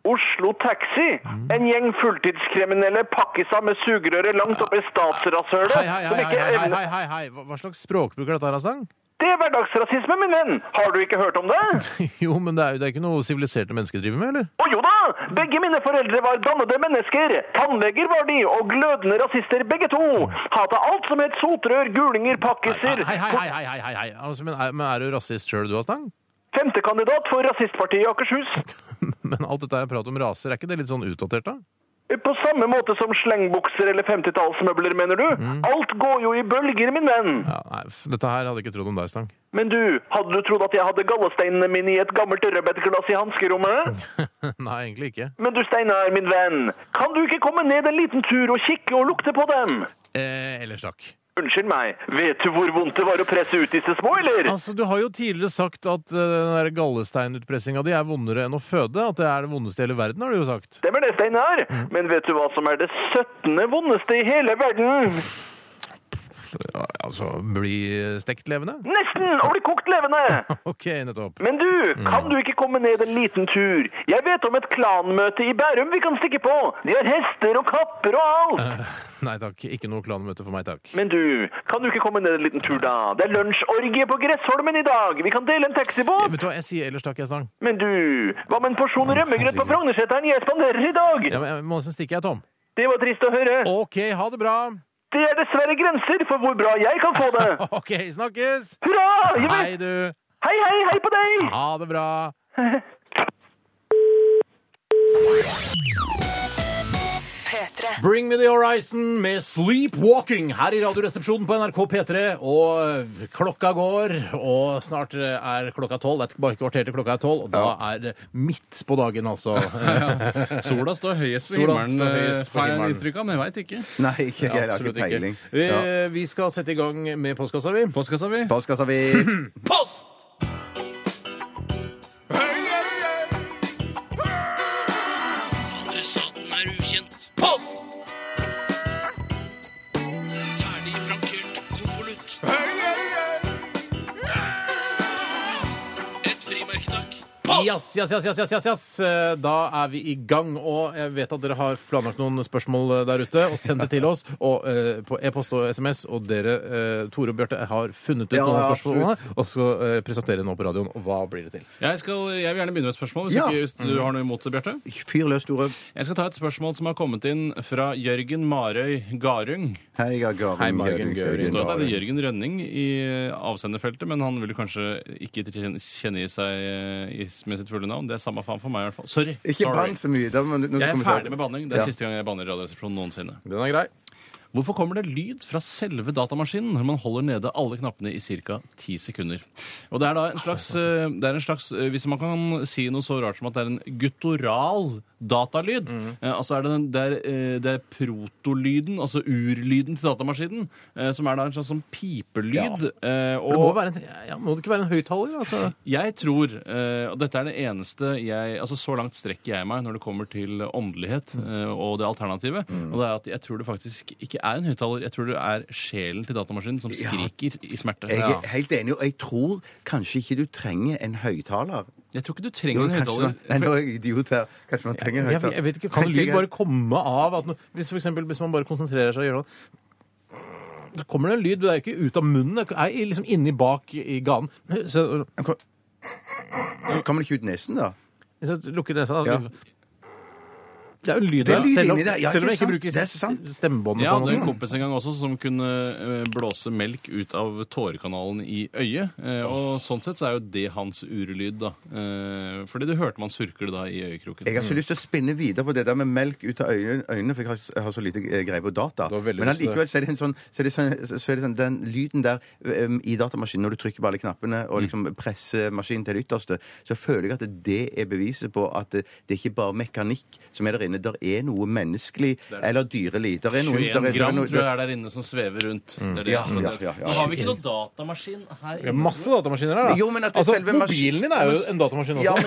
F: Oslo Taxi. En gjeng fulltidskriminelle pakkes av med sugerøret langt oppi statsrasshølet.
C: Hei, hei,
F: som
C: hei,
F: ikke
C: hei, hei,
F: evner-
C: hei, hei, hei. Hva hva slags språkbruk er dette her, Stang?
F: Det er hverdagsrasisme, min venn. Har du ikke hørt om det?
C: Jo, men det er jo det er ikke noe siviliserte mennesker driver med, eller?
F: Å jo da! Begge mine foreldre var dannede mennesker. Tannleger var de, og glødende rasister begge to. Hadde alt som het sotrør, gulinger, pakkiser.
C: Hei, hei, hei, hei, hei, hei, hei. Altså, men, er, men er du rasist sjøl, du, da, Stang?
F: Femtekandidat for rasistpartiet i Akershus.
C: Men alt dette her pratet om raser, er ikke det litt sånn utdatert, da?
F: På samme måte som slengbukser eller 50-tallsmøbler, mener du? Alt går jo i bølger, min venn.
C: Ja, nei, f- dette her hadde jeg ikke trodd om deg, Stang.
F: Men du, hadde du trodd at jeg hadde gallesteinene mine i et gammelt rødbetglass i
C: Mm.
F: hanskerommet?
C: Nei, egentlig ikke.
F: Men du, Steinar, min venn, kan du ikke komme ned en liten tur og kikke og lukte på dem?
C: Eh, ellers takk.
F: Unnskyld meg, vet du hvor vondt det var å presse ut disse små, eller?
C: Altså, Du har jo tidligere sagt at eh, den der gallesteinutpressinga di er vondere enn å føde. At det er det vondeste i hele verden, har du jo sagt.
F: Stemmer det, Steinar? Men vet du hva som er det 17. vondeste i hele verden?
C: Ja, altså, bli eh, stekt levende?
F: Nesten! Og bli kokt levende!
C: OK, nettopp.
F: Men du,
C: Mm.
F: kan du ikke komme ned en liten tur? Jeg vet om et klanmøte i Bærum vi kan stikke på. De har hester og kapper og alt.
C: Eh. Nei takk, ikke noe klanmøte for meg, takk.
F: Men du, kan du ikke komme ned en liten tur da? Det er lunsjorgie på Gressholmen i dag. Vi kan dele
C: Eh,
F: en taxibåt.
C: Vet du hva, jeg sier ellers takk, jeg, Stang.
F: Men du, hva med en porsjon rømmegrøt på
C: herregud.
F: Frognerseteren jeg spanderer i dag?
C: Ja, men jeg må nesten stikke, jeg, Tom.
F: Det var trist å høre.
C: OK, ha det bra.
F: Det er dessverre grenser for hvor bra jeg kan få det.
C: OK, snakkes!
F: Hurra! Jeg
C: Hei,
F: vet.
C: du.
F: Hei, hei, hei på deg!
C: Ha det bra.
A: P3.
C: Bring me the horizon med Sleepwalking her i Radioresepsjonen på NRK P3. Og klokka går, og snart eh, er klokka tolv. Det er bare et kvarter til klokka er tolv, og da er det midt på dagen, altså.
E: Sola står høyest på
C: Sola
E: himmelen, eh,
C: står høyest på
E: har jeg
C: himmelen.
E: inntrykk av, men jeg veit ikke.
D: Nei, ikke, jeg har ikke peiling.
C: Vi,
D: Ja.
C: vi skal sette i gang med postkassa, vi.
E: Postkassa vi.
D: Postkassa vi
G: Adressaten er ukjent. Post! Ferdig frankert konvolutt. Et frimerke, takk.
C: Yes, yes, yes, yes, yes, yes, yes. Eh, Da er vi i gang, og jeg vet at dere har planlagt noen spørsmål eh, der ute, og send det til oss og, eh, på e-post og SMS. Og dere, eh, Tore og Bjarte, har funnet ut
D: Ja,
C: noen av
D: ja,
C: spørsmålene, og skal eh, presentere nå på radioen. Og hva blir det til?
E: Jeg, skal, jeg vil gjerne begynne med et spørsmål, hvis,
D: Ja.
E: ikke, hvis du har noe imot det, Bjarte.
D: Fyr løs, Tore.
E: Jeg skal ta et spørsmål som har kommet inn fra Jørgen Marøy Garung.
D: Hei, jeg har Gøring.
C: Hei, Margen Gøring.
E: Det står at det er
D: Gøring.
E: Jørgen Rønning i eh, avsenderfeltet, men han ville kanskje ikke kjenne kjenne i seg eh, is- med sitt fulle navn. Det er samme faen for meg, i hvert fall. Sorry.
D: Ikke
E: Sorry.
D: bann så mye. Da, men,
E: Jeg er ferdig med
D: bann.
E: banning. Det er
D: Ja.
E: siste gang jeg banner i Radioresepsjonen noensinne.
C: Den er grei.
E: Hvorfor kommer det lyd fra selve datamaskinen når man holder nede alle knappene i ca. ti sekunder? Og det er da en slags, eh, det er en slags eh, Hvis man kan si noe så rart som at det er en guttoral datalyd
C: Mm.
E: eh, Altså er det, den, det, er, eh, det er protolyden, altså urlyden til datamaskinen, eh, som er da en slags sånn pipelyd. eh,
C: For det må, jo
E: og-
C: være en, ja, må det ikke være en høyttaler? Altså?
E: jeg tror, eh, og dette er det eneste jeg Altså så langt
D: Mm.
E: strekker jeg meg når det kommer til åndelighet eh, og det alternativet, og det er at jeg tror det faktisk ikke ikke er en høyttaler. Jeg tror det er sjelen til datamaskinen som skriker i smerte.
D: Jeg
E: Ja.
D: er helt enig, og jeg tror kanskje ikke du trenger en høyttaler.
E: Jeg tror ikke du
D: Jo,
E: trenger en
D: kanskje
E: høyttaler.
D: man- Nei, nå er jeg idiot her. Kanskje man trenger en
C: Jeg,
D: høyttaler.
C: jeg vet ikke, Kan
D: Kanskje
C: lyd
D: jeg-
C: bare komme av at no, hvis, for eksempel, hvis man bare konsentrerer seg og gjør noe Så kommer det en lyd. Det er jo ikke ut av munnen. Det er liksom inni bak i ganen. Så,
D: Kommer det ikke ut nesen, da?
C: så lukker nesa altså.
D: Ja.
C: Det er jo en lyd
D: Det er
C: der,
D: lyd
C: selv om,
D: inni der. Ja,
C: selv om jeg
D: ikke sant?
C: ikke bruker
D: Det er sant.
C: s- stemmebåndet.
E: Ja,
C: på
E: det er en
D: Mm.
C: noe.
E: kompis en gang også som kunne eh, blåse melk ut av tårekanalen i øyet. eh, Og sånn sett så er jo det hans urelyd, da. Eh, Fordi det hørte man surkle da i øyekroken.
D: Jeg har
C: Mm.
D: så lyst til å spinne videre på det der med melk ut av øynene, øynene for jeg har, s- jeg har så lite eh, greie på data.
C: Du har veldig
D: Men
C: lyst til det.
D: allikevel så er det en sånn, så er det sånn, så er det sånn den lyden der em, i datamaskinen, når du trykker på alle knappene
C: Mm.
D: og liksom presser maskinen til det ytterste, så føler jeg at det er beviset på at det, det er ikke bare mekanikk som er der inne. Der er noe menneskelig eller dyrelig. Der er noe
E: 21
D: der er- der er
E: gram
D: noe-
E: tror jeg er der inne som svever rundt. Det er
D: Mm.
E: det.
D: Ja, ja, ja, ja.
E: Nå har vi ikke noe datamaskin her.
C: Det er masse datamaskiner her, da.
D: Jo, men at det
C: altså,
D: selve mas-
C: mobilen din er jo en datamaskin også.
D: Ja, men,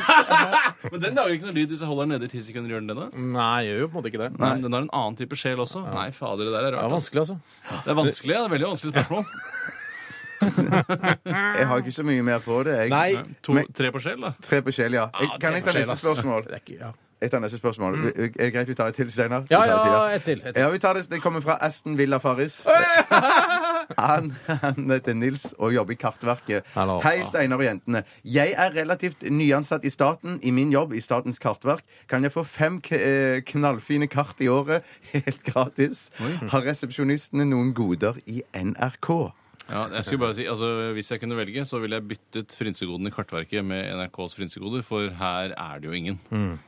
E: Men den lager ikke noe lyd hvis jeg holder den nede i ti sekunder. Gjør den det da?
C: Nei, jeg gjør jo på en måte ikke det.
E: Nei, men den har en annen type sjel også. Nei, fader, det der er
C: Det er
E: rart.
C: vanskelig, altså.
E: ass. Det er vanskelig, ja. Det er veldig vanskelig spørsmål.
D: jeg har ikke så mye mer på det. Jeg.
C: Nei. Ah,
E: To,
D: Men-
E: tre på sjel, da.
D: Tre på sjel, ja. Jeg, kan jeg ta neste spørsmål?
C: Det er ikke, ja.
D: Jeg tar neste spørsmål. Er det greit vi tar et til, Steinar?
C: Ja,
D: Vi tar et til,
C: ja, ett til, ett til.
D: Ja, vi tar det. Det kommer fra Aston Villa Farris. Han, han heter Nils og jobber i Kartverket.
C: Hallo.
D: Hei, Steinar og jentene. Jeg er relativt nyansatt i staten. I min jobb i Statens kartverk kan jeg få fem k eh, knallfine kart i året helt gratis. Har resepsjonistene noen goder i NRK?
E: Ja, jeg skulle bare si, altså, Hvis jeg kunne velge, så ville jeg byttet frynsegodene i Kartverket med NRKs frynsegoder, for her er det jo ingen.
D: Mm.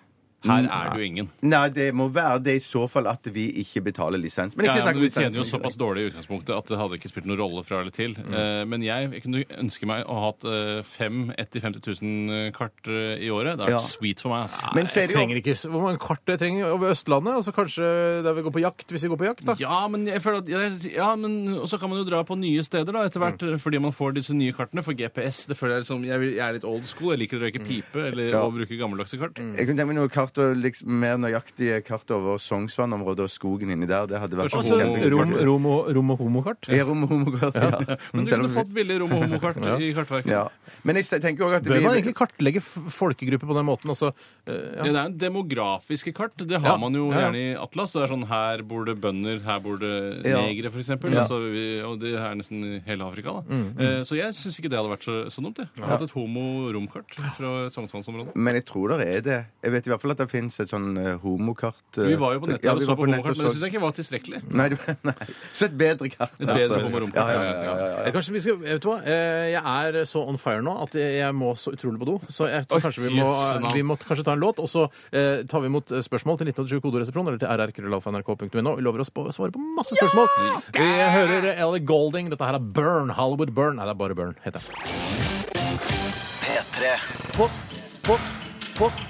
E: Her er det jo ingen.
D: Nei, det må være det i så fall at vi ikke betaler lisens. Men
E: Ja,
D: ikke
E: ja,
D: snakk
E: men
D: om
E: Vi tjener jo
D: lisensen.
E: såpass dårlig i utgangspunktet at det hadde ikke spilt noen rolle fra eller til.
D: Mm.
E: Eh, Men jeg, jeg kunne ønske meg å ha hatt eh, fem 1-50 000 kart eh, i året. Det hadde
D: Ja.
E: vært sweet for meg. ass.
D: Men så er
C: Jeg
D: det jo
C: trenger ikke s- Hvor mange kart jeg trenger over Østlandet? Og så kanskje der vi går på jakt, hvis vi går på jakt, da.
E: Ja, men jeg føler at jeg- Ja, men Og så kan man jo dra på nye steder da etter hvert,
D: Mm.
E: eh, fordi man får disse nye kartene. For GPS det føler jeg liksom Jeg, vil- jeg er litt old school. Jeg liker å
D: Mm.
E: røyke pipe eller å bruke gammeldagse kart.
D: Jeg kunne tenkt meg noe kart og liksom, mer nøyaktige kart over Sognsvann-området og skogen inni der. Det hadde vært
E: Og
C: Og så
E: homo-
C: Altså, rom, rom, og, rom og homokart.
D: Ja, rom og homokart, ja.
E: Men du
D: Selv
E: kunne
D: om-
E: fått billig rom- og homokart i Kartverket.
D: ja. Men jeg tenker òg at
C: Bør man
D: vi
C: egentlig kartlegge f- folkegrupper på den måten? Altså, eh,
E: Ja, Det er en demografiske kart. Det har
C: Ja.
E: man jo
C: Ja, ja.
E: gjerne i Atlas. Det er sånn Her bor det bønder, her bor det
D: Ja.
E: negere, f.eks.
D: Ja. Mm,
E: Altså, vi- og det er nesten i hele Afrika, da. Eh, Så jeg syns ikke det hadde vært så, så dumt. Jeg. Jeg har hatt et homo-romkart fra Sognsvannsområdet.
D: Men jeg tror det er det. Jeg vet i hvert fall at det fins et sånn eh, homokart eh,
E: Vi var jo på nettet
D: ja,
E: og
D: vi
E: så
D: var
E: på
D: nettet og
E: homokart, men det
D: så-
E: syns jeg ikke var tilstrekkelig.
D: Nei, du, nei. Så et bedre kart. altså.
E: Et bedre
D: Ja,
E: homoromkart,
D: ja, ja, ja, ja, ja.
C: Eh, Kanskje vi skal, vet du hva? Eh, Jeg er så on fire nå at jeg jeg må så utrolig på do. Så jeg tror
E: Oi,
C: kanskje vi må,
E: jøsse navn.
C: vi må kanskje ta en låt, og så eh, tar vi imot eh, spørsmål til 1987 kodoresepsjon eller til rrkrøllalfa.nrk.no. Vi lover oss på å svare på masse spørsmål. Vi hører Ellie Golding. Dette her er Burn. Hollywood Burn. Nei, det er bare Burn, heter det.
B: P3
H: Post, post, post.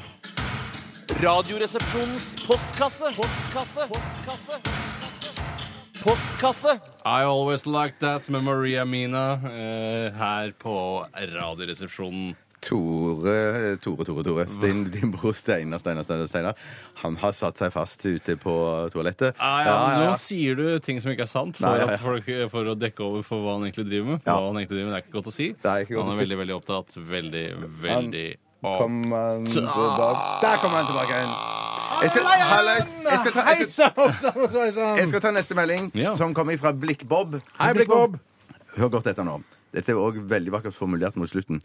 H: Radioresepsjonens postkasse. Postkasse. Postkasse. Postkasse.
E: I Always Like That med Maria Mina eh, her på Radioresepsjonen.
D: Tore, Tore, Tore, Tore. Din, din bror Steinar, Steinar, Steinar, Steinar. Han har satt seg fast ute på toalettet.
E: Ah, ja,
D: Ja, ja, ja.
E: Nå sier du ting som ikke er sant, for,
D: Nei, ja, ja.
E: At folk, for å dekke over for hva han egentlig driver med.
D: Ja.
E: Hva han egentlig driver med, Det er ikke godt å si.
D: er ikke godt
E: han
D: å
E: er
D: si.
E: veldig, veldig opptatt. Veldig, veldig opp.
D: Kom han
E: Ah.
D: tilbake. Der kom han tilbake igjen. Jeg skal, Hallais. jeg, skal ta, jeg, skal, jeg skal ta neste melding,
E: Ja.
D: som kommer fra Blikk-Bob.
C: Hei, Blikkbob.
D: Hør godt etter nå. Dette er òg veldig vakkert formulert mot slutten.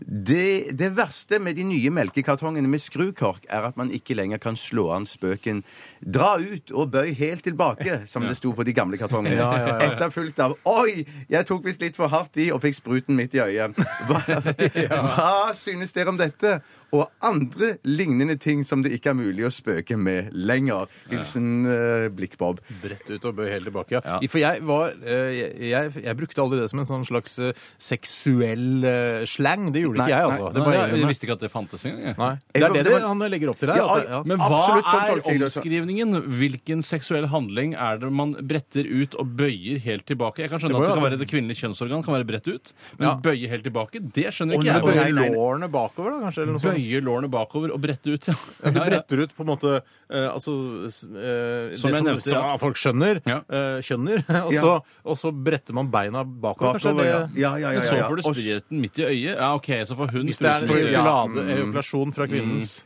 D: Det, det verste med de nye melkekartongene med skrukork er at man ikke lenger kan slå an spøken 'dra ut og bøy helt tilbake', som det sto på de gamle kartongene. Etterfulgt av 'oi, jeg tok visst litt for hardt i og fikk spruten midt i øyet'. Hva, hva synes dere om dette? Og andre lignende ting som det ikke er mulig å spøke med lenger. Hilsen eh, Blikk-Bob.
C: Brett ut og bøy helt tilbake. Ja. For jeg var eh, jeg, jeg, jeg brukte aldri det som en sånn slags eh, seksuell eh, slang. Det
D: Nei,
C: gjorde ikke jeg,
D: nei,
C: altså.
E: Nei,
C: det var,
E: jeg, jeg visste ikke at det fantes engang. jeg.
C: Nei. Det er det,
D: Det var-
C: han legger opp til her.
D: Ja,
C: at det- ja.
E: Men hva
D: Absolutt
E: er
D: kontrollkrig, altså.
E: omskrivningen? Hvilken seksuell handling er det man bretter ut og bøyer helt tilbake? Jeg kan
C: Det
E: skjønne
C: må
E: at
C: jo
E: det kan
C: at-
E: være det kvinnelige kjønnsorgan kan være bredt ut, men
C: Ja.
E: bøye helt tilbake, det skjønner
C: Og
E: ikke jeg.
C: bøye
D: nei, nei, nei.
C: lårene bakover, da, kanskje? Eller noe sånt.
E: bøye lårene bakover og brette ut, ja.
C: Du
E: Ja, ja.
C: bretter ut på en måte eh, altså, s- eh,
E: Som
C: det
E: jeg nevnte,
C: som
E: ja.
C: folk skjønner,
E: Ja.
C: eh, skjønner og,
D: Ja.
C: så, og så bretter man beina bakover. kanskje,
D: Bakover,
C: eller?
D: ja. Ja, ja, ja,
E: Men så
D: ja, ja.
E: får du
D: Og s-
E: spriten midt i øyet. Ja, OK, så får hun
C: Hvis det er en
E: trusen i øyet.
C: ejakulade, ejakulasjon fra kvinnens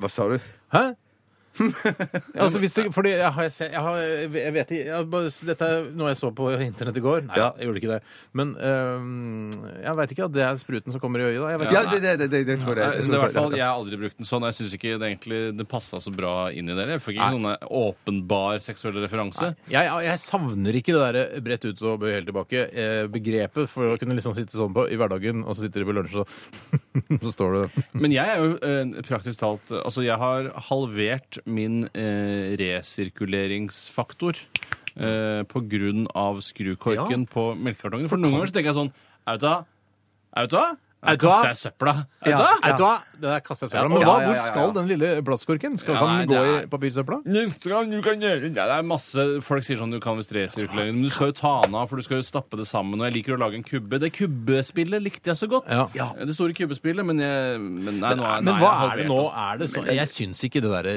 D: Hva sa du?
C: Hæ? Ja, altså, hvis det, fordi jeg har, sett- jeg har jeg vet ikke jeg har bare, Dette er noe jeg så på internett i går. Nei,
D: Ja.
C: jeg gjorde ikke det. Men øhm, jeg veit ikke at det er spruten som kommer i øyet, da. Jeg vet
D: Ja,
C: ikke.
D: det, det, det, det, det tror jeg.
E: Nei,
D: jeg.
E: det er i
D: tror
E: hvert fall,
D: det.
E: Jeg har aldri brukt den sånn. Jeg syns ikke det, egentlig, det passa så bra inn i det. Jeg fikk ikke noen åpenbar seksuell referanse.
C: Jeg, jeg- jeg savner ikke det derre bredt ut og bøy helt tilbake eh, begrepet for å kunne liksom sitte sånn på i hverdagen, og så sitter de på lunsj, og så står du
E: Men jeg er jo eh, praktisk talt eh, Altså, jeg har halvert min eh, resirkuleringsfaktor eh, på grunn av skrukorken på melkekartongen. For noen ganger så tenker jeg sånn Auta? Auta?
C: Auta?
E: Auta? Kaster jeg søpla? Auta?
C: Vet du hva? Det der kaster jeg søpla.
E: Ja,
C: Men
E: ja,
C: hva,
D: ja, ja,
C: hvor
D: ja.
C: skal den lille plastkorken? Skal
E: Ja,
C: kan den
E: nei,
C: gå i
E: det er-
C: papirsøpla?
E: Neste gang du kan gjøre det. Det er masse folk sier sånn du kan visst resirkulere, men du skal jo ta den av, for du skal jo stappe det sammen. Og jeg liker å lage en kubbe. Det kubbespillet likte jeg så godt.
C: Ja.
E: Det store kubbespillet, men jeg men nei, nå er,
C: Men
E: nei,
C: hva
E: jeg
C: er det
E: halvert,
C: nå?
E: altså.
C: Er det sånn? Jeg syns ikke det der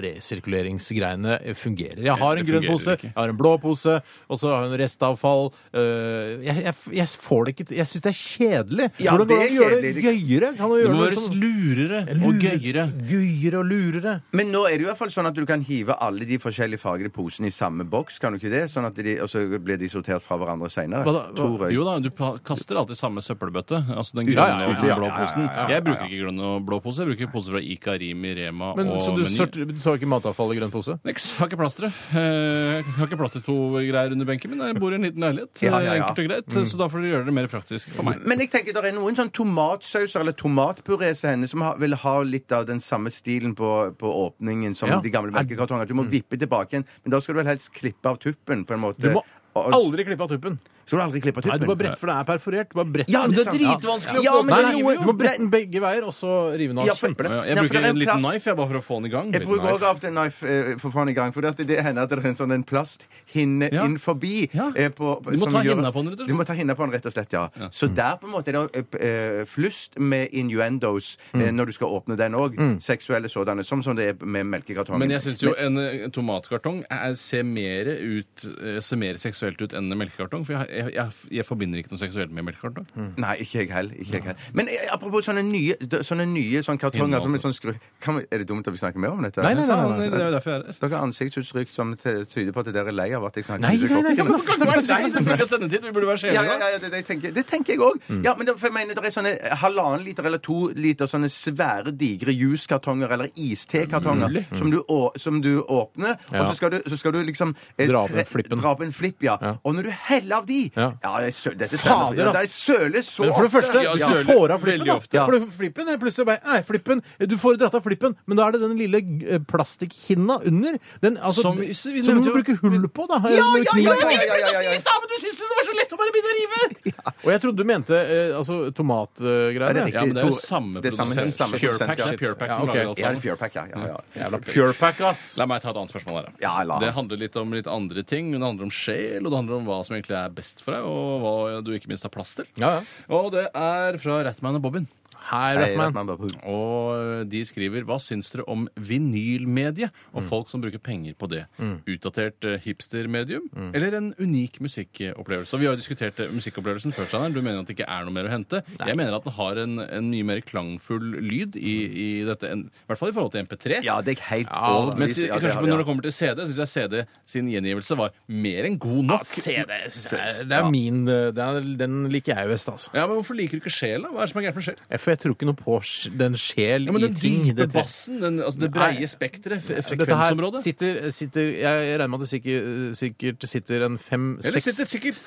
C: resirkuleringsgreiene fungerer. Jeg har en
E: Det
C: grønn
E: fungerer
C: pose,
E: ikke.
C: jeg har en blå pose, og så har jeg en restavfall. Øh, Jeg, jeg, jeg får det ikke til. Jeg syns det er kjedelig.
D: Ja,
C: Hvordan
D: det er
C: kan man gjøre det
D: kjedelig.
C: gøyere? Kan man
E: Det
C: gjøre
E: må
C: det
E: være
C: sånn-
E: lurere og gøyere.
C: Gøyere og lurere.
D: Men nå er det jo i hvert fall sånn at du kan hive alle de forskjellige fargede posene i samme boks, kan du ikke det? Sånn at de, og så blir de sortert fra hverandre senere.
C: Hva da? Hva-
D: Tror jeg.
E: Jo da, du pa- kaster alltid samme søppelbøtte. Altså den
C: Ja,
E: grønne
C: ja, ja,
E: og den
C: ja,
E: blå
C: ja, ja,
E: posen. Jeg bruker ikke grønn og blå pose. Jeg bruker poser fra Ica, Rimi, Rema
C: Men,
E: og
C: så du,
E: Meny.
C: sorter- du tar ikke matavfall i grønn pose?
E: Niks. Har ikke plass til det. Eh, Har ikke plass til to greier under benken min. Jeg bor i en liten leilighet.
D: Ja, ja, Mm. ja.
E: Enkelt og greit. Så da får dere gjøre det mer praktisk for meg.
D: Men jeg tenker det er noen sånn tomatsauser eller tomatpureser henne som har, vil ha litt av den samme stilen på, på åpningen som
C: Ja. Mm.
D: de gamle melkekartongene. Du må vippe tilbake igjen, men da skal du vel helst klippe av tuppen, på en måte.
C: Du må
D: Og-
C: aldri klippe av tuppen.
D: Skal du aldri klippe av
C: Nei, du
D: tuppen?
C: bare brett, for det er perforert. Du bare brett
D: Ja,
C: den.
D: det er dritvanskelig å få
C: Nei,
D: den. River
C: nei, jo,
D: jo.
C: Du må brette den begge veier, og så rive den av.
D: Ja, for- for det-
E: Ja,
D: Ja,
E: Jeg
D: for
E: bruker
D: det er
E: en liten
D: plast-
E: knife jeg bare for å få den i gang.
D: Jeg
E: Liten
D: bruker
E: knife.
D: også av den knife eh, for faen i gang, for det, det hender at det er en sånn en plasthinne
E: Ja.
D: inn forbi.
E: Ja.
D: eh, på,
E: Du må
D: som
E: ta hinna på den, rett og slett. Mm.
D: Du må ta hinna på den, rett og slett, ja. Så der på en måte er det eh, flust med innuendos
E: Mm.
D: eh, når du skal åpne den òg. Seksuelle sådanne, som, som det er med melkekartongen.
E: Men jeg syns jo en eh, tomatkartong er, ser, mer ut, eh, ser mer seksuelt ut enn en melkekartong. For jeg, jeg, jeg, jeg forbinder ikke noe seksuelt med melkekartong.
D: Nei, ikke jeg heller. Ikke jeg heller. Men eh, apropos sånne nye, d- sånne nye sånne kartonger
E: Hinne,
D: som er
E: altså.
D: sånn skru... Kan vi, er det dumt at vi snakker mer om dette?
C: Nei, nei, nei,
E: Faen,
C: nei, nei.
E: Det er jo derfor jeg er her.
D: Dere har ansiktsuttrykk som te- tyder på at dere er lei av at jeg snakker
C: Nei,
D: musikk
C: nei,
D: opp.
C: nei,
D: Ja, men-
C: snakk, snakk, snakk, snakk, snakk.
E: Selvfølgelig sendetid. Vi burde
D: Ja,
E: være skjeve
D: ja, ja, ja, det, det tenker, det tenker jeg òg.
C: Mm.
D: Ja, men det, for jeg mener, det er sånne halvannen liter eller to liter sånne svære, digre juskartonger eller istekartonger som, du å- som du åpner, og
C: Mm. Ja.
D: så skal du, så skal du liksom eh,
C: Dra opp
D: tre-
C: en flippen.
D: Dra opp en flipp, ja.
C: Ja.
D: Og når du heller av de
C: Ja.
D: Ja, jeg sø, dette
C: Fader,
D: ja, det
C: ass.
D: er søler så
C: Men for det
D: ofte.
C: første,
E: Ja,
C: du
E: søler
C: får av flippen,
E: veldig
C: da.
E: ofte, ja.
C: For det- flippen er plutselig bare, nei, flippen, du får dratt av flippen, men da er det den lille eh, plastikkhinna under, den, altså,
E: Som
C: som,
E: vi- vi
C: du
E: nevnte jo-
C: bruker hull på, da. eh, med
D: ja,
C: kniv.
D: ja, ja, ja, ja, ja, ja.
E: men du syns det var så lett å bare begynne å rive!
C: Og jeg trodde du mente eh, altså,
D: Ja, det er
C: tomatgreier.
D: riktig.
E: Ja, men det er jo
D: To-
E: samme
D: det er samme-
E: produsent.
D: samme produsent,
E: Purepack
D: ja.
E: det er Purepack
C: Ja,
E: som
C: ok.
E: lager alt
D: Ja,
E: sammen.
D: pure pack, ja. ja, ja.
C: Purepack, ass!
E: La meg ta et annet spørsmål her. da.
D: Ja, la han.
E: det handler litt om litt andre ting. men Det handler om sjel, og det handler om hva som egentlig er best for deg, og hva du ikke minst har plass til.
C: Ja, ja.
E: Og det er fra Ratman og Bobbin.
C: Hei,
D: Nei, at
C: Rathman.
D: man bare-
E: Og de skriver Hva syns dere om vinylmediet
D: Mm.
E: og folk som bruker penger på det? Utdatert eh, hipstermedium
D: Mm.
E: eller en unik musikkopplevelse? Og Vi har jo diskutert eh, musikkopplevelsen før, Steinar. Du mener at det ikke er noe mer å hente. Jeg mener at den har en, en mye mer klangfull lyd i, i dette, enn- i hvert fall i forhold til MP3.
D: Mm. Ja, det er jeg helt
E: Men
D: overbevist
E: si-
D: ja, det
E: kanskje
D: har-
E: når
D: ja.
E: det kommer til CD, syns jeg CD sin gjengivelse var mer enn god nok.
C: Det er- det er min eh, det er, Den liker jeg best, altså.
E: Ja, men Hvorfor liker du ikke sjela? Hva er det som er gærent med sjel?
C: Jeg- For jeg tror ikke noe på sj- den sjel
E: Ja, men
C: i
E: Den
C: ting.
E: dype
C: Det-
E: bassen, den, altså det
C: Nei.
E: breie spekteret, fre-
C: Dette her
E: frekvensområdet.
C: sitter, sitter Jeg regner med at det sikkert, sikkert sitter en
E: Eller sitter
C: fem-seks
E: sikkert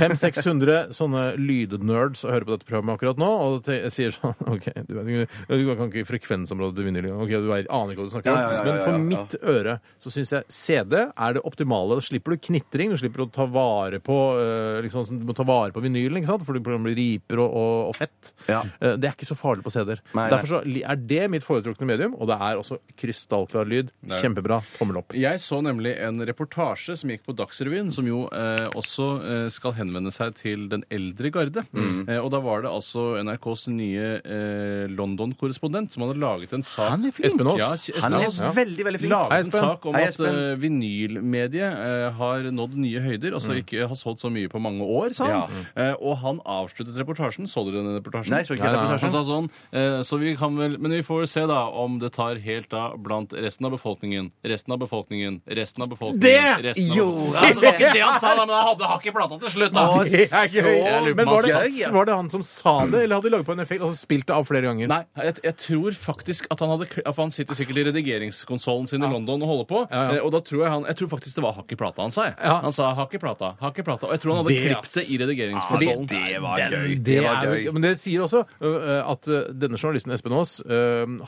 C: 500-600 sånne lydnerds og hører på dette programmet akkurat nå, og te sier sånn OK, du, vet, ikke- du kan ikke frekvensområdet til vinyl engang. Ok, du vet, aner ikke hva du snakker om.
D: Ja, ja, ja, ja,
C: Men for
D: ja, ja.
C: mitt øre så syns jeg CD er det optimale. Da slipper du knitring, du slipper å ta vare på eh, liksom, sånn, Du må ta vare på vinylen, ikke sant? for det blir riper og, og, og fett.
D: Ja.
C: Eh, Det er ikke så farlig på CD-er.
D: Nei, nei.
C: Derfor så li- er det mitt foretrukne medium, og det er også krystallklar lyd. Kjempebra. Tommel opp.
E: Jeg så nemlig en reportasje som gikk på Dagsrevyen, som jo eh, også eh, skal skal henvende seg til den eldre garde. Eh, og da var det altså NRKs nye eh, London-korrespondent som hadde laget en sak
D: Han er flink.
C: Espen Aas.
E: Ja, Espen
D: Han er
E: Aas.
D: veldig, veldig flink.
E: Laget
C: Hei,
E: en
C: Espen.
E: sak om
D: Hei,
E: at
D: Espen.
E: eh, vinylmediet eh, har nådd nye høyder, altså
D: Mm.
E: ikke har solgt så mye på mange år, sa han. Eh, og han avsluttet reportasjen. Så dere den reportasjen?
D: Nei, så ikke
C: Nei, nei,
E: Han
D: reportasjen.
E: sa sånn, eh, så vi kan vel, Men vi får se da om det tar helt av blant resten av befolkningen. Resten av befolkningen, resten av befolkningen
C: Det
E: resten av
C: gjorde
E: befolkningen. altså, det, var ikke
C: ikke
E: det han sa, da, men han hadde hakk i plata til slutt. da
C: Det er gøy.
E: Jeg lurer på
C: Men var det,
E: om han
D: gøy, ja.
C: var det han som sa det, eller hadde de laget på en effekt og så altså spilt det av flere ganger?
E: Nei, jeg, jeg tror faktisk at han hadde kl- For han sitter jo sikkert i redigeringskonsollen sin i London og holder på.
C: Ja, ja.
E: eh, Og da tror jeg han Jeg tror faktisk det var hakk i plata han sa. jeg.
C: Ja.
E: Han sa hakk i plata, hakk i plata. Og jeg tror han hadde
C: Det, ass.
E: klippet det i redigeringskonsollen.
D: var gøy.
C: Det er jo, men det sier også ø, ø, at ø, denne journalisten Espen Aas ø,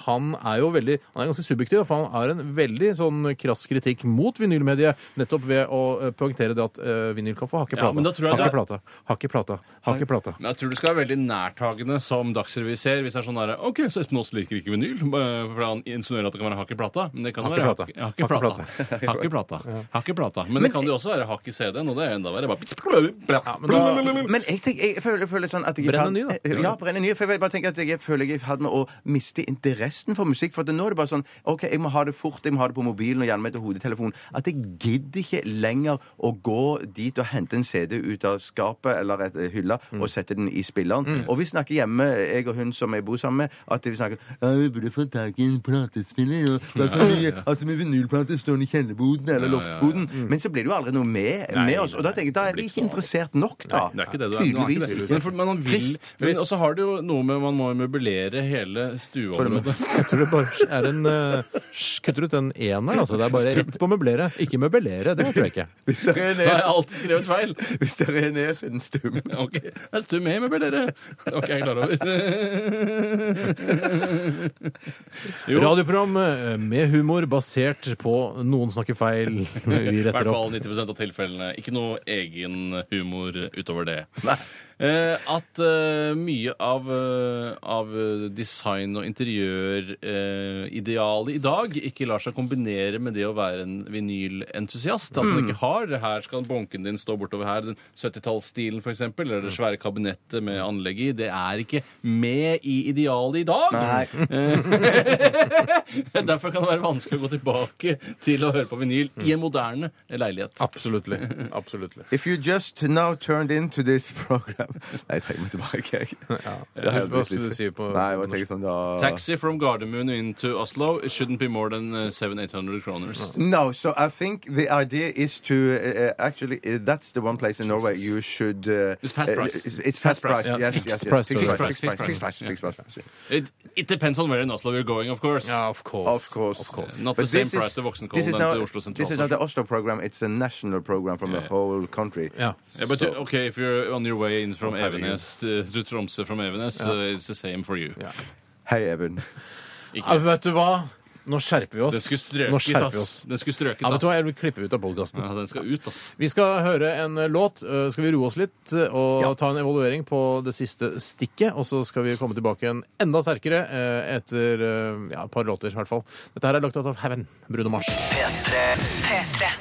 C: han er jo veldig han er ganske subjektiv, da, for han har en veldig sånn krass kritikk mot vinylmediet, nettopp ved å ø, poengtere det at øh, ø, vinyl kan få hakke
E: Ja, men da
C: plata.
E: tror jeg
C: hakke
E: det-
C: plata. Hakke plata. Hakke plata.
E: Men jeg tror du skal være veldig nærtagende som Dagsrevy ser, hvis det er sånn derre OK, så Espen Aas liker ikke vinyl, eh, for han insinuerer at det kan være hakk i plata. Men det kan jo være
C: Hakk i
E: hakk- hakk i plata. Hakk i plata. Hakk i plata. Men det kan jo også være hakk i CD-en, og det er enda verre. Bare
C: Ja, men da,
D: Men jeg, tenker, jeg føler, føler sånn at jeg
C: Brenn en
D: i
C: ny,
D: ferd-
C: da.
D: Ja, brenn en ny. For jeg bare tenker at jeg føler jeg er i ferd med å miste interessen for musikk. For at nå er det bare sånn OK, jeg må ha det fort, jeg må ha det på mobilen og gjerne med til hodetelefonen. At jeg gidder ikke lenger å gå dit og hente en CD ut av skapet eller et eh, hylla og sette den i spilleren. Og vi snakker hjemme, jeg og hun som jeg bor sammen med, at vi snakker Ja, vi burde få tak i en platespiller. Og, det er så mye, altså med vinylplater står den i kjellerboden eller
E: Ja, ja, ja.
D: loftboden. Men så blir det jo aldri noe med, med oss. Og da tenker jeg, da er vi ikke interessert nok, da.
E: Det er ikke det du er.
D: Tydeligvis.
E: Du er ikke det. Men, for, men han vil
D: Trist.
E: Men også har det jo noe med Man må jo møblere hele stueområdet.
C: jeg tror det bare er en øh, ø, sj, Kutter ut den ene, altså. Det er bare rett på møblere. Ikke møblere, det tror jeg ikke.
D: Hvis det er
E: Da har
D: nes,
E: jeg alltid skrevet feil.
D: hvis det er nes i den stum.
E: Ok, Jeg er stum med møblere. Ok, jeg er klar over. Jo,
C: Radioprogram ø, med humor basert på noen snakker feil. eh, Vi
E: I hvert
C: retter opp.
E: fall 90 av tilfellene. Ikke noe egen humor utover det. Eh, at eh, mye av, eh, av eh, design- og interiøridealet eh, idealet i dag ikke lar seg kombinere med det å være en vinylentusiast. At man ikke har det her skal bunken din stå bortover her. Den 70-tallsstilen f.eks. Eller det svære kabinettet med anlegget i. Det er ikke med i idealet i dag. Eh, Derfor kan det være vanskelig å gå tilbake til å høre på vinyl i en moderne leilighet.
C: Absolutt. Absolutt.
D: If you just now turned into this program Nei, jeg trenger meg tilbake, jeg. Det
C: Hva skulle du si på-
D: Nei, jeg bare tenker sånn, da...
E: Taxi from Gardermoen into Oslo it shouldn't be more than eh, 700-800 kroners.
D: No, so I think the idea is to uh, uh, actually uh, that's the one place in Norway you should. Uh,
E: It's fast
D: uh,
E: price.
D: It's, it's fast, price.
C: price. Yeah,
D: Yes,
C: fixed
D: yes, yes.
C: price,
D: Fixed
C: sorry.
D: price.
E: Fixed price,
D: Fixed
E: price,
D: price. Fixed price.
E: It, it depends on where in Oslo you're going, of course.
C: Ja, of course.
D: Of course.
E: Not
D: But
E: the same
D: this
E: price
D: is-
E: to Voksenkollen
D: this is
E: than
D: not-
E: to Oslo
D: This is not
E: sentralstasjon.
D: the Oslo program. It's a national program from the
E: Yeah.
D: whole country.
C: Ja.
E: Yeah, but you- okay, if you're on your way in from
D: Å, herregud.
E: Evenes to to Tromsø from Evenes, eh, it's the same for you.
D: Hei, Even.
C: Ja, vet du hva? Nå skjerper vi oss.
E: Den skulle
C: Nå
E: strøket,
C: skjerper vi
E: ass.
C: oss.
E: Den skulle strøket,
C: Ja, vet du hva?
E: ass.
C: Jeg vil klippe ut av podkasten.
E: Ja, den skal ut, ass.
C: Vi skal høre en eh, låt. Eh, Skal vi roe oss litt eh, og ta en evaluering på det siste stikket? Og så skal vi komme tilbake igjen enda sterkere eh, etter eh, ja, et par låter, i hvert fall. Dette her er lagt ut av Heaven, Bruno Mars.
A: P3.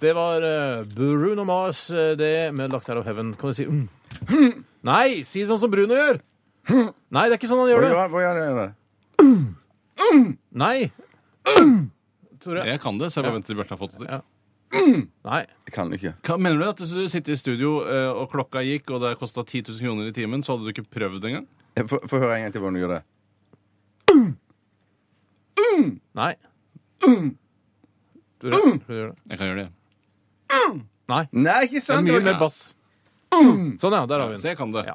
C: Det var eh, Bruno Mars, eh, det med Lagt Out of Heaven. Kan du si mm. Nei, si sånn som Bruno gjør! Nei, det er ikke sånn han
D: Hvor
C: gjør det.
D: gjør- hvor gjør jeg det?
C: Nei. Tore.
E: Jeg kan det, så jeg bare venter til Bjarte har fått det til.
C: Nei.
D: Jeg kan ikke.
E: Hva, mener du at hvis du sitter i studio eh, og klokka gikk, og det kosta 10 000 kroner i timen, så hadde du ikke prøvd engang?
D: Eh, Få få høre en gang til hvordan du gjør det.
C: Nei. Tore, Tore gjør Mm. det.
E: Jeg kan gjøre det igjen.
C: Nei.
D: Nei, ikke
C: Det er
D: sant?
C: mye
D: det var-
C: mer bass. Sånn, ja. Der har vi
E: Så
C: den.
E: jeg kan det.
C: Ja.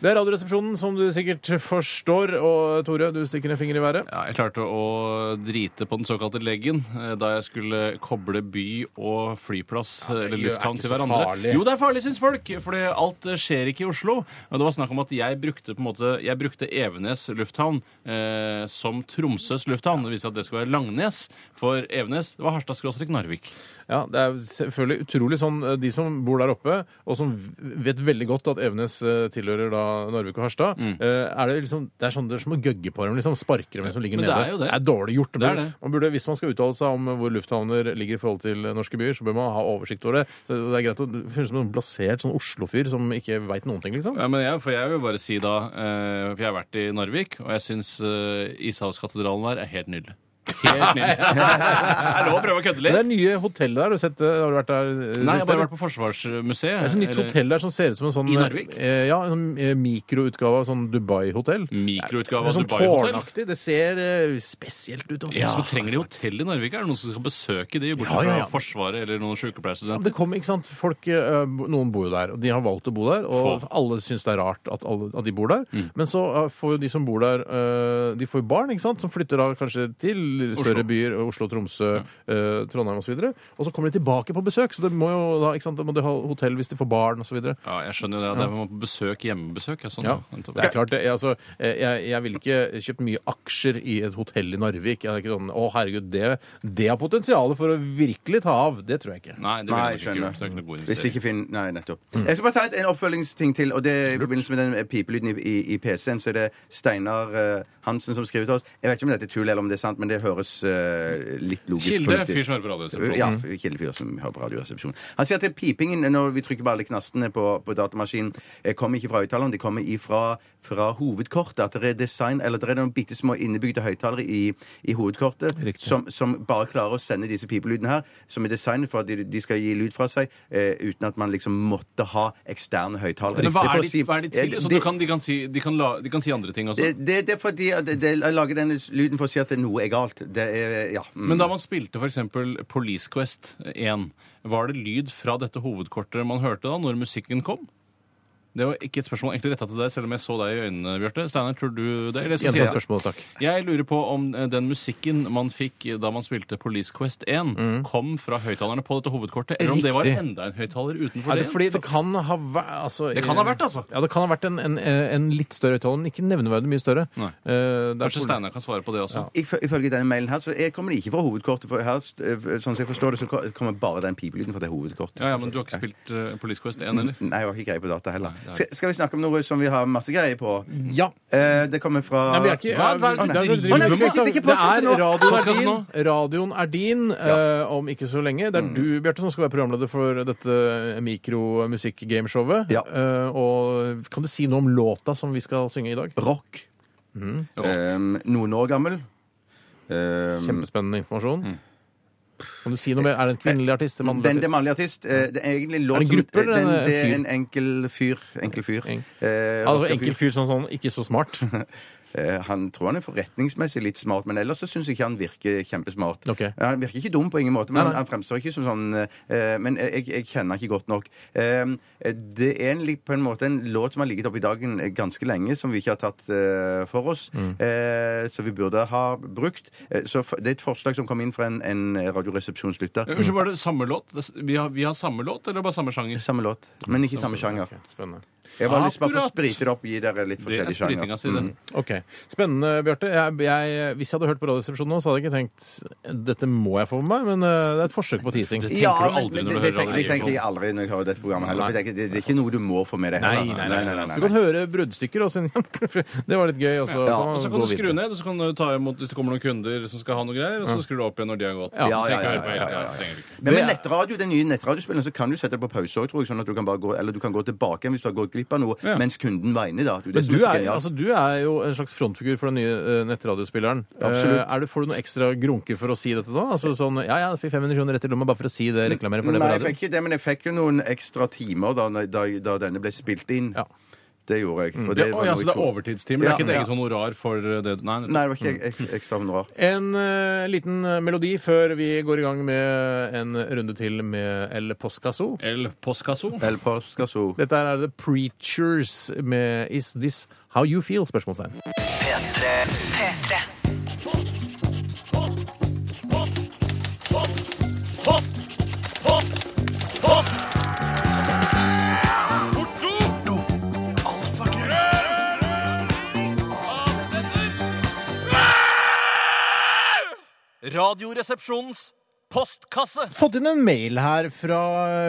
C: Det er Radioresepsjonen, som du sikkert forstår. Og Tore, du stikker en finger i været.
E: Ja, jeg klarte å drite på den såkalte leggen eh, da jeg skulle koble by og flyplass eh, eller
C: det er
E: lufthavn
C: ikke
E: til
C: så
E: hverandre.
C: farlig.
E: Jo, det er farlig, syns folk, for alt eh, skjer ikke i Oslo. Og Det var snakk om at jeg brukte, på en måte, jeg brukte Evenes lufthavn eh, som Tromsøs lufthavn. Det viste seg at det skulle være Langnes for Evenes. Det var Harstad-Narvik.
C: Eh, Ja, Det er selvfølgelig utrolig sånn eh, de som bor der oppe, og som v- vet veldig godt at Evenes eh, tilhører da Narvik og Harstad.
E: Mm.
C: eh, Er det liksom, det er sånn dere som må gøgge på dem, liksom. Sparker dem som ligger
E: Men det
C: nede.
E: er jo det.
C: er dårlig gjort.
E: Det er det.
C: Man burde, hvis man skal uttale seg om hvor lufthavner ligger i forhold til norske byer, så bør man ha oversikt over det. Så det er greit å det høres ut som en blasert sånn Oslo-fyr som ikke veit noen ting, liksom.
E: Ja, men jeg, for jeg vil bare si da eh, For jeg har vært i Narvik, og jeg syns eh, Ishavskatedralen der er helt nydelig. Helt nydelig. Det er lov å prøve å kødde
C: Men
E: litt.
C: Det er nye hotell der. Har du sett det? Har du vært der? eh,
E: Nei, jeg
C: sist,
E: har bare
C: eller?
E: vært på Forsvarsmuseet.
C: Det er et sånt nytt
E: eller
C: hotell der som ser ut som en sånn
E: I Narvik? Mm.
C: Eh, ja, en sånn, eh, mikroutgave av sånn Dubai-hotell. Det er
E: Mikroutgave av
C: sånn
E: Dubai-hotell.
C: tårnaktig. Det ser eh, spesielt ut. Også.
E: Ja. Så trenger de hotell i Narvik? Er det noen som skal besøke de, bortsett
C: Ja, ja, ja.
E: fra Forsvaret eller noen sykepleierstudenter?
C: det kommer, ikke sant? Folk, eh, bo- noen bor jo der, og de har valgt å bo der. Og
E: Få. Mm.
C: alle syns det er rart at, alle, at de bor der. Men så eh, får jo de som bor der, eh, de får jo barn, ikke sant? som flytter da kanskje til større
E: Oslo.
C: byer. Oslo, Tromsø, eh, Trondheim osv. Og, så videre. og så kommer de tilbake på besøk, så det må jo da, ikke sant? da må de ha hotell hvis de får barn osv.
E: Ja, jeg skjønner jo det. Det er på besøk, hjemmebesøk. Ja, sånn,
C: Ja,
E: ja.
C: det er klart det. Jeg, altså, jeg, jeg ville ikke kjøpt mye aksjer i et hotell i Narvik. Jeg er ikke sånn, å herregud, det, det har potensial for å virkelig ta av. Det tror jeg ikke.
E: Nei, det
D: Nei, jeg
E: ville jeg ikke
D: skjønner.
E: gjort. Det er ikke noe god
D: Hvis de
E: investering.
D: ikke finner Nei, nettopp. Jeg skal bare ta et, en oppfølgingsting til, og det er i forbindelse med den pipelyden i, i, i PC-en. Så er det Steinar eh, Hansen som skriver til oss. Jeg vet ikke om dette er tull, eller om det er sant, men det høres eh, litt logisk
E: Kilde,
D: fornuftig ut.
E: fyr som hører på Radioresepsjonen.
D: Ja, kildefyr som hører på Radioresepsjonen. Han sier at det er pipingen når vi trykker på alle knastene på, på datamaskinen, eh, kommer ikke fra høyttaleren, det kommer ifra fra hovedkortet. At det er design, eller det er noen bitte små innebygde høyttalere i, i hovedkortet som, som bare klarer å sende disse pipelydene her, som er designet for at de, de skal gi lyd fra seg, eh, uten at man liksom måtte ha eksterne høyttalere.
E: Men hva
D: For å
E: er de,
D: si-
E: hva er de til?
D: Eh,
E: Så du
D: det-
E: kan, de, kan si, de, kan la, de kan si andre ting også.
D: det, det, det er fordi at det, det, jeg lager denne lyden for å si at noe er galt. Det er, ja. mm.
E: Men da man spilte f.eks. Police Quest 1, var det lyd fra dette hovedkortet man hørte da, når musikken kom? Det var ikke et spørsmål egentlig retta til deg, selv om jeg så deg i øynene, Bjarte. Steinar, tror du det? Eller så
C: Gjenta
E: sier jeg,
C: spørsmålet, takk.
E: jeg lurer på om eh, den musikken man fikk da man spilte Police Quest 1, kom fra høyttalerne på dette hovedkortet, eller om det var
C: Riktig.
E: enda en høyttaler utenfor
C: Er det
E: det?
C: fordi det kan ha vært altså,
E: Det kan ha vært, altså.
C: Ja, det kan ha vært en, en, en litt større høyttaler, men ikke nevneverdig mye større.
E: Nei.
C: Eh, det er
E: Kanskje Steinar kan svare på det også.
D: Ifø- Ifølge denne mailen her, så er- kommer det ikke fra hovedkortet. For her, eh, sånn som jeg forstår det, så ko- kommer bare den pipelyden fra det hovedkortet.
E: Ja, ja, Men du har ikke spilt eh, Police Quest 1 heller?
D: Nei, jeg har ikke greie på data heller.
E: det har
D: Skal, skal vi snakke om noe som vi har masse greie på?
C: Ja.
D: Eh, det kommer fra
C: Mhm. Nei, men vi er ikke,
E: Hva- hva er det
C: det,
E: du
C: er,
E: driver
D: med?
C: det,
D: Sitter
C: er,
D: ikke på oss nå.
C: radioen er
E: Podcast
C: din,
E: nå.
C: radioen er din eh, om ikke så lenge. Det er du, Bjarte, som skal være programleder for dette eh, mikromusikk-gameshowet.
D: Ja.
C: Eh, og kan du si noe om låta som vi skal synge i dag?
D: rock.
C: Mhm.
D: Eh, noen år gammel. Eh,
C: Kjempespennende informasjon. Kan du si noe mer? Er det en kvinnelig artist? En mannlig
D: den, det er
C: artist?
D: mannlig artist. Eh, det er egentlig en
C: Er
D: låt
C: det en gruppe,
D: som,
C: eller
D: den,
C: en
D: det er
C: fyr?
D: en enkel fyr. Enkel fyr.
C: En-
D: Eh,
C: Altså,
D: rockerfyr.
C: enkel fyr sånn, sånn ikke så smart.
D: Eh, Han tror han er forretningsmessig litt smart, men ellers så syns jeg ikke han virker kjempesmart.
C: Ok.
D: Eh, Han virker ikke dum på ingen måte, men
C: Nei, nei.
D: han fremstår ikke som sånn eh, Men jeg, jeg kjenner han ikke godt nok. Eh, Det er en, li- på en måte en låt som har ligget oppe i dagen ganske lenge, som vi ikke har tatt eh, for oss, eh, som vi burde ha brukt. Eh, Så f- det er et forslag som kom inn fra en, en radioresepsjonslytter.
E: Eh, Unnskyld, var det samme låt? Det s- Vi har, vi har samme låt, eller bare samme sjanger?
D: Samme låt, men ikke samme sjanger.
C: Ok, Spennende.
D: Jeg har bare lyst til bare for å
E: Akkurat.
D: sprite det opp og gi dere litt
E: Det er
D: forskjellige
E: spritinga si, det.
D: sjanger. Mm.
C: Ok, Spennende, Bjarte. Jeg, jeg, hvis jeg hadde hørt på Radioresepsjonen nå, så hadde jeg ikke tenkt dette må jeg få med meg, men eh, det er et forsøk på teasing.
E: tenker du aldri
D: men- men
E: når du
D: det tenker,
E: hører
D: det
E: radio.
D: tenker jeg aldri når jeg hører dette programmet heller.
C: Nei.
D: For jeg tenker, det, det er ikke noe du må få med deg. heller.
C: Nei, nei, nei, Du kan høre bruddstykker, og så det var litt gøy. Og så
D: Ja,
C: kan man
E: Og så
C: gå
E: kan du skru
C: videre.
E: ned, og så kan du ta imot hvis det kommer noen kunder som skal ha noe greier, og så skrur du opp igjen når de har gått.
D: Ja, ja, ja,
E: Trenger
D: ja,
E: ikke være på hele
D: ja,
E: tiden,
D: ja, ja.
E: trenger du ikke.
D: Men med
C: Det er-
D: nettradio, den nye netradiospilleren, så kan du sette det på pause òg, tror jeg. Sånn at du kan bare gå, eller du kan gå tilbake igjen hvis du har gått glipp av noe,
E: Ja.
D: mens kunden var inne. da. Det er jo det
C: Men
D: som
C: du
D: så
C: er,
D: genialt.
C: altså, du er jo en slags frontfigur for den nye eh, nettradio-spilleren.
D: Absolutt.
C: Eh, er det, får du noen ekstra grunker for å si dette da? Altså sånn Ja, ja, jeg fikk 500 kroner rett i lomma bare for å si det, reklamere for det på
D: Nei, jeg fikk
C: radio.
D: ikke det, men jeg fikk jo noen ekstra timer da, da, da denne ble spilt inn.
C: Ja. Mm.
D: Det gjorde jeg. For
E: Ja,
D: det
E: å,
D: var
E: ja,
D: noe
E: så det er
D: jeg tok.
E: overtidstimer? Det er ikke et
D: Ja.
E: eget honorar for det du Nei, nettopp.
D: Nei, det var ikke
C: Mm.
D: ek- ekstra honorar.
C: En eh, liten melodi før vi går i gang med en runde til med El Poscaso.
E: El Poscaso.
D: Eller påskaso.
C: Dette her er The Preachers med Is This How You Feel? spørsmålstegn.
B: P3.
A: P3.
H: Radioresepsjonens postkasse.
C: fått inn en mail her fra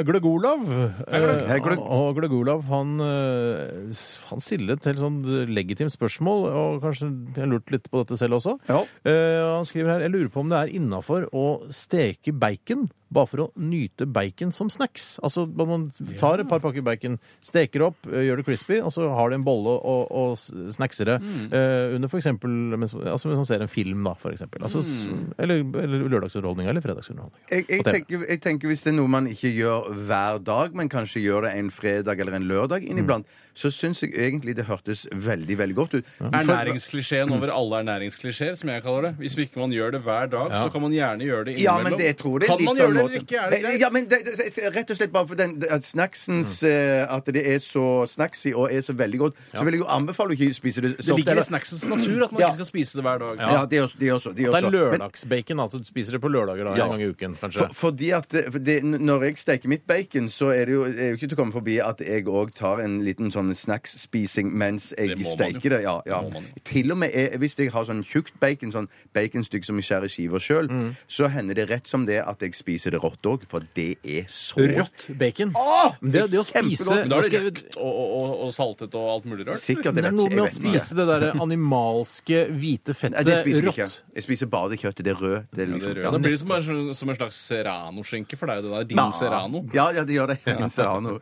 C: Gløgg Olav.
D: Gløgg. Hei, Gløgg.
C: Eh, Og Gløgg Olav han, eh, s- han stiller et helt sånn legitimt spørsmål, og kanskje jeg lurte litt på dette selv også.
D: Ja.
C: Eh, Han skriver her jeg lurer på om det er innafor å steke bacon bare for å nyte bacon som snacks. Altså når man tar et par pakker bacon, steker det opp, eh, gjør det crispy, og så har det en bolle og, og s- snackser det
D: Mm.
C: eh, under for eksempel, mens, altså mens man ser en film, da, for eksempel. Altså,
D: Mm.
C: s- eller, eller lørdagsunderholdninga eller fredagsunderholdninga.
D: Jeg, jeg,
C: På TV.
D: tenker, jeg tenker Hvis det er noe man ikke gjør hver dag, men kanskje gjør det en fredag eller en lørdag
C: Mm.
D: inniblant, så syns jeg egentlig det hørtes veldig veldig godt ut. For,
E: Ernæringsklisjeen over alle ernæringsklisjeer, som jeg kaller det. Hvis ikke man gjør det hver dag, så kan man gjerne gjøre det
D: ja,
E: innimellom.
D: men det jeg tror det er
E: kan man
D: litt sånn
E: gjøre det
D: måte-
E: eller ikke? Er det greit? Mm.
D: Ja, men det, det, Rett og slett bare for den, at snacksens eh, At det er så snacksy og er så veldig godt, så vil jeg jo anbefale å ikke spise det så
E: det ligger i
D: eller-
E: snacksens natur at man
D: Ja.
E: ikke skal spise det hver dag.
D: Ja, det er også. Det er også, det er også.
C: Det er lørdagsbacon, altså. Du spiser det på lørdager da,
D: Ja.
C: en gang i uken, kanskje.
D: For, fordi at det, for det, Når jeg steker mitt bacon, så er det jo, er jo ikke til å komme forbi at jeg òg tar en liten sånn snacksspising mens jeg
E: Det må man jo.
D: steker det. Ja, ja.
E: Det må man jo.
D: Til og med er, hvis jeg har sånn tjukt bacon, sånn baconstykke som jeg skjærer i skiver sjøl,
E: Mm.
D: så hender det rett som det at jeg spiser det rått òg, for det er så
C: Rått bacon. Men det, det å spise
E: Men da er
C: Skal
E: det
C: jeg-
E: røkt og, og, og- og saltet og alt mulig rørt.
D: Sikkert.
C: Det
D: Jeg
C: er
D: vet,
C: noe
D: jeg
C: med å
D: vet ikke.
C: spise det derre animalske, hvite fettet
D: Nei, det spiser jeg ikke.
C: rått.
D: Jeg spiser bare det køttet. Det er rød. Det er
E: Ja, det
D: liksom,
E: er rød. Da blir det sånn som, en- som en slags serrano-skinke, for det er jo det der. Din serrano.
D: Ja, ja, det gjør det. Serrano.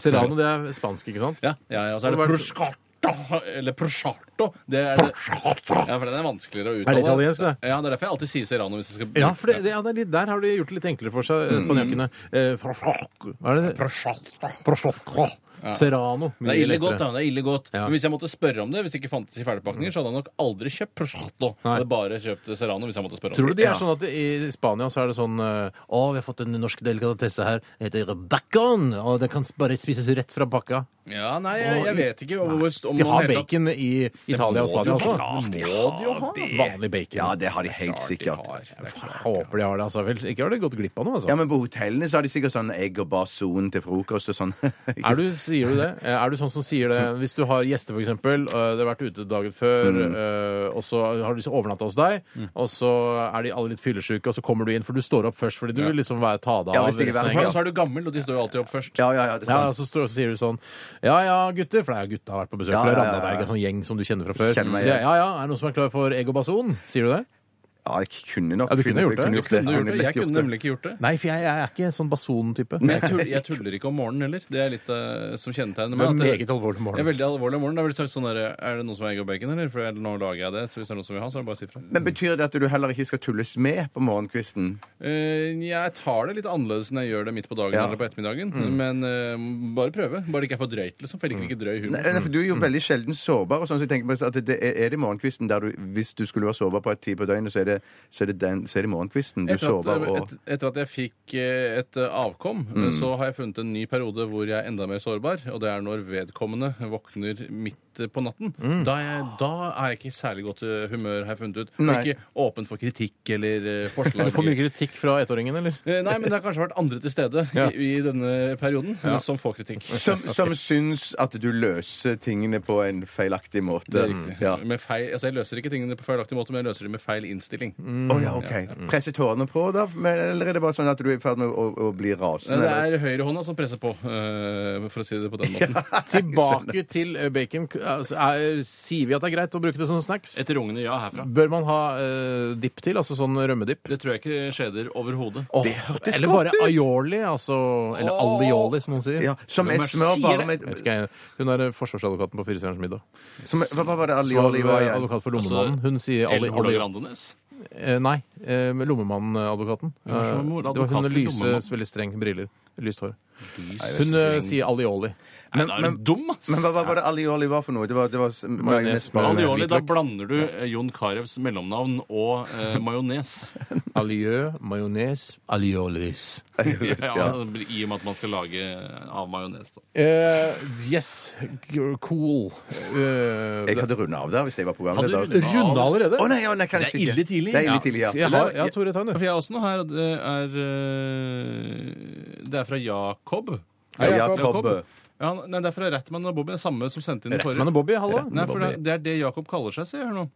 C: Serrano, det er spansk, ikke sant?
E: Ja, ja, ja, og så er det prosciutto, eller prosciutto. Det er Ja, for den er vanskeligere å uttale.
C: Er det italiensk, det?
E: Ja, det er derfor jeg alltid sier serrano hvis jeg skal
C: Ja, for det, det, ja, det er litt, der har de gjort det litt enklere for seg, eh, spanjokkene. Eh, prosciutto. Hva er det? Prosciutto. Serrano.
E: Det
C: Mye
E: er ille
C: lettere.
E: godt, da. det er ille godt.
C: Ja.
E: Men hvis jeg måtte spørre om det, hvis det ikke fantes i ferdigpakninger, så hadde jeg nok aldri kjøpt prosciutto. Jeg
C: Nei.
E: hadde bare kjøpt serrano hvis jeg måtte spørre om
C: Tror du det
E: det.
C: er sånn at i Spania så er det sånn eh, Å, vi har fått en norsk delikatesse her. Det heter bacon. Og det kan bare spises rett fra pakka.
E: Ja, nei, jeg, jeg vet ikke. Om, om
C: De har
E: hele tatt-
C: bacon i Italia og
E: må
C: Spania
E: de jo
C: også.
E: ha.
C: Det
E: Det
C: må de jo ha. Vanlig bacon.
D: Ja, det har de helt
E: Klart de
D: sikkert.
E: har. Det er klart.
C: Jeg håper de har det. altså. Vel, ikke har de gått glipp av noe. altså.
D: Ja, men på hotellene så har de sikkert sånn egg og bason til frokost og sånn.
C: Er du, sier du det? Eh, Er du sånn som sier det hvis du har gjester, f.eks.? Det har vært ute dagen før,
D: Mm.
C: eh, og så har de overnatta hos deg, og så er de alle litt fyllesyke, og så kommer du inn, for du står opp først fordi du vil liksom være ta deg
D: Ja,
C: av
D: hvis det ikke
C: resten av
D: er
E: For
C: gjengen.
E: så er du gammel, og de står jo alltid opp først.
D: Ja, ja, ja, det er
C: Ja,
D: sant.
C: og så, står, så sier du sånn Ja ja, gutter. For det er jo gutta har vært på besøk
D: Ja,
C: fra
D: ja, ja, ja.
C: Randaberg, en sånn gjeng som du kjenner fra før.
D: Kjenner meg
C: Sier,
D: igjen.
C: jeg, ja ja, er det noen som er klar for egg og bason? Sier du det?
D: Ja, jeg kunne nok
C: Ja, du kunne
D: funnet-
C: gjort det.
E: Du kunne gjort det.
D: lett
E: Jeg kunne nemlig ikke gjort det.
C: Nei, for jeg, jeg er ikke sånn bason-type.
E: Men jeg tuller, jeg tuller ikke om morgenen heller. Det er litt eh, som
C: Det
E: kjennetegner meg.
C: er
E: at jeg-
C: meget alvorlig
E: Jeg er
C: morgen.
E: veldig alvorlig om morgenen. Det er vel sagt sånn der, er det noen som har egg og bacon, eller? For jeg- nå lager jeg det. Så hvis det er noen som vil ha, så er det bare å si fra.
D: Men betyr det at du heller ikke skal tulles med på morgenkvisten?
E: Eh, jeg tar det litt annerledes enn jeg gjør det midt på dagen
D: Ja. Mm.
E: eller på ettermiddagen. Men eh, bare prøve. Bare det ikke er for drøyt, liksom. For jeg liker ikke drøy humor.
D: Nei, nei, for Du er jo veldig sjelden sårbar. og sånn, så jeg tenker på at det Er er det morgenkvisten der du Hvis du skulle være sårbar på et tid på døgnet, så er det, så er det, den, så er det morgenkvisten du er
E: Etter
D: sårbar
E: at, eh,
D: og Mm.
E: et, etter at jeg fikk eh, et eh, avkom, eh, så har jeg funnet en ny periode hvor jeg er enda mer sårbar. Og det er når vedkommende våkner midt eh, på natten.
D: Mm.
E: Da, er jeg, da er jeg ikke i særlig godt eh, humør, har jeg funnet ut.
D: Nei.
E: Ikke åpen for kritikk eller eh,
C: Du
E: forslag.
C: får mye kritikk fra ettåringen, eller?
E: Eh, Nei, men det har kanskje vært andre til stede
C: Ja.
E: i, i denne perioden eh, som får kritikk.
D: som, som syns at du løser tingene på en feilaktig måte.
E: Det er riktig.
D: Ja.
E: Med feil, altså jeg løser ikke tingene på feilaktig måte, men jeg løser dem med feil innstilling.
D: Å ja,
E: Mm.
D: OK. Presser tårene på, da? Men, eller er det bare sånn at du er i ferd med å, å, å bli
E: Nei,
D: rasende?
E: Det
D: eller?
E: er høyrehånda som presser på, eh, for å si det på den måten.
C: Tilbake til eh, bacon. Altså, er, sier vi at det er greit å bruke det som snacks?
E: Etter rungene ja herfra.
C: Bør man ha eh, dipp til? Altså sånn rømmedipp?
E: Det tror jeg ikke skjeder overhodet.
C: Åh, eller bare aioli, altså. Eller alioli, som noen sier.
D: Ja, som
E: Hvem
D: er
E: er det som
D: smør
E: sier
D: bare
E: det?
D: med
C: Jeg vet ikke, jeg. Hun er eh, forsvarsadvokaten på Firestjerners middag.
D: som, hva, hva var det
C: Som var
D: Alioli var?
C: eh,
D: igjen?
C: advokat for Lommemannen. Hun sier
E: Altså, Eller
C: ali,
E: Ola
C: ali,
E: Grandenes.
C: eh, Nei, eh, Lommemannen-advokaten. Eh,
E: var som advokat
C: Det var hun med
E: til
C: lyse,
E: Lommemann.
C: veldig streng briller. Lyst hår. Hun eh, sier alioli.
E: Men, da er du
D: men-
E: dum, ass!
D: Men hva, hva var det Alioli var for noe? Det var, det var s- majones
C: smør.
D: med-
E: Alioli, da
C: hvitløk.
E: blander du eh, Jon Carews mellomnavn og eh, majones.
C: Aliø, majones, aliolis.
E: ja,
D: Majones, ja.
E: I og med at man skal lage av majones. da.
C: Eh, yes, g- cool. Eh,
D: Jeg hadde runda av der hvis jeg var
E: Hadde
D: programleder.
E: du-
C: Runde allerede?
D: Å nei, å nei, kanskje
E: Det er ille
D: ikke.
E: tidlig.
D: Det er ille tidlig,
C: Jeg
D: ja.
C: har, ja, Tore, ta den,
E: For
C: du.
E: jeg har også noe her. og Det er, eh, det er fra Jakob.
D: Ja, Jakob.
E: Ja, han- nei, derfor er Rattman og Bobby det samme som sendte inn det
C: Rettmann og Bobby, hallo.
E: Nei, for det, det er det Jakob kaller seg, sier jeg nå.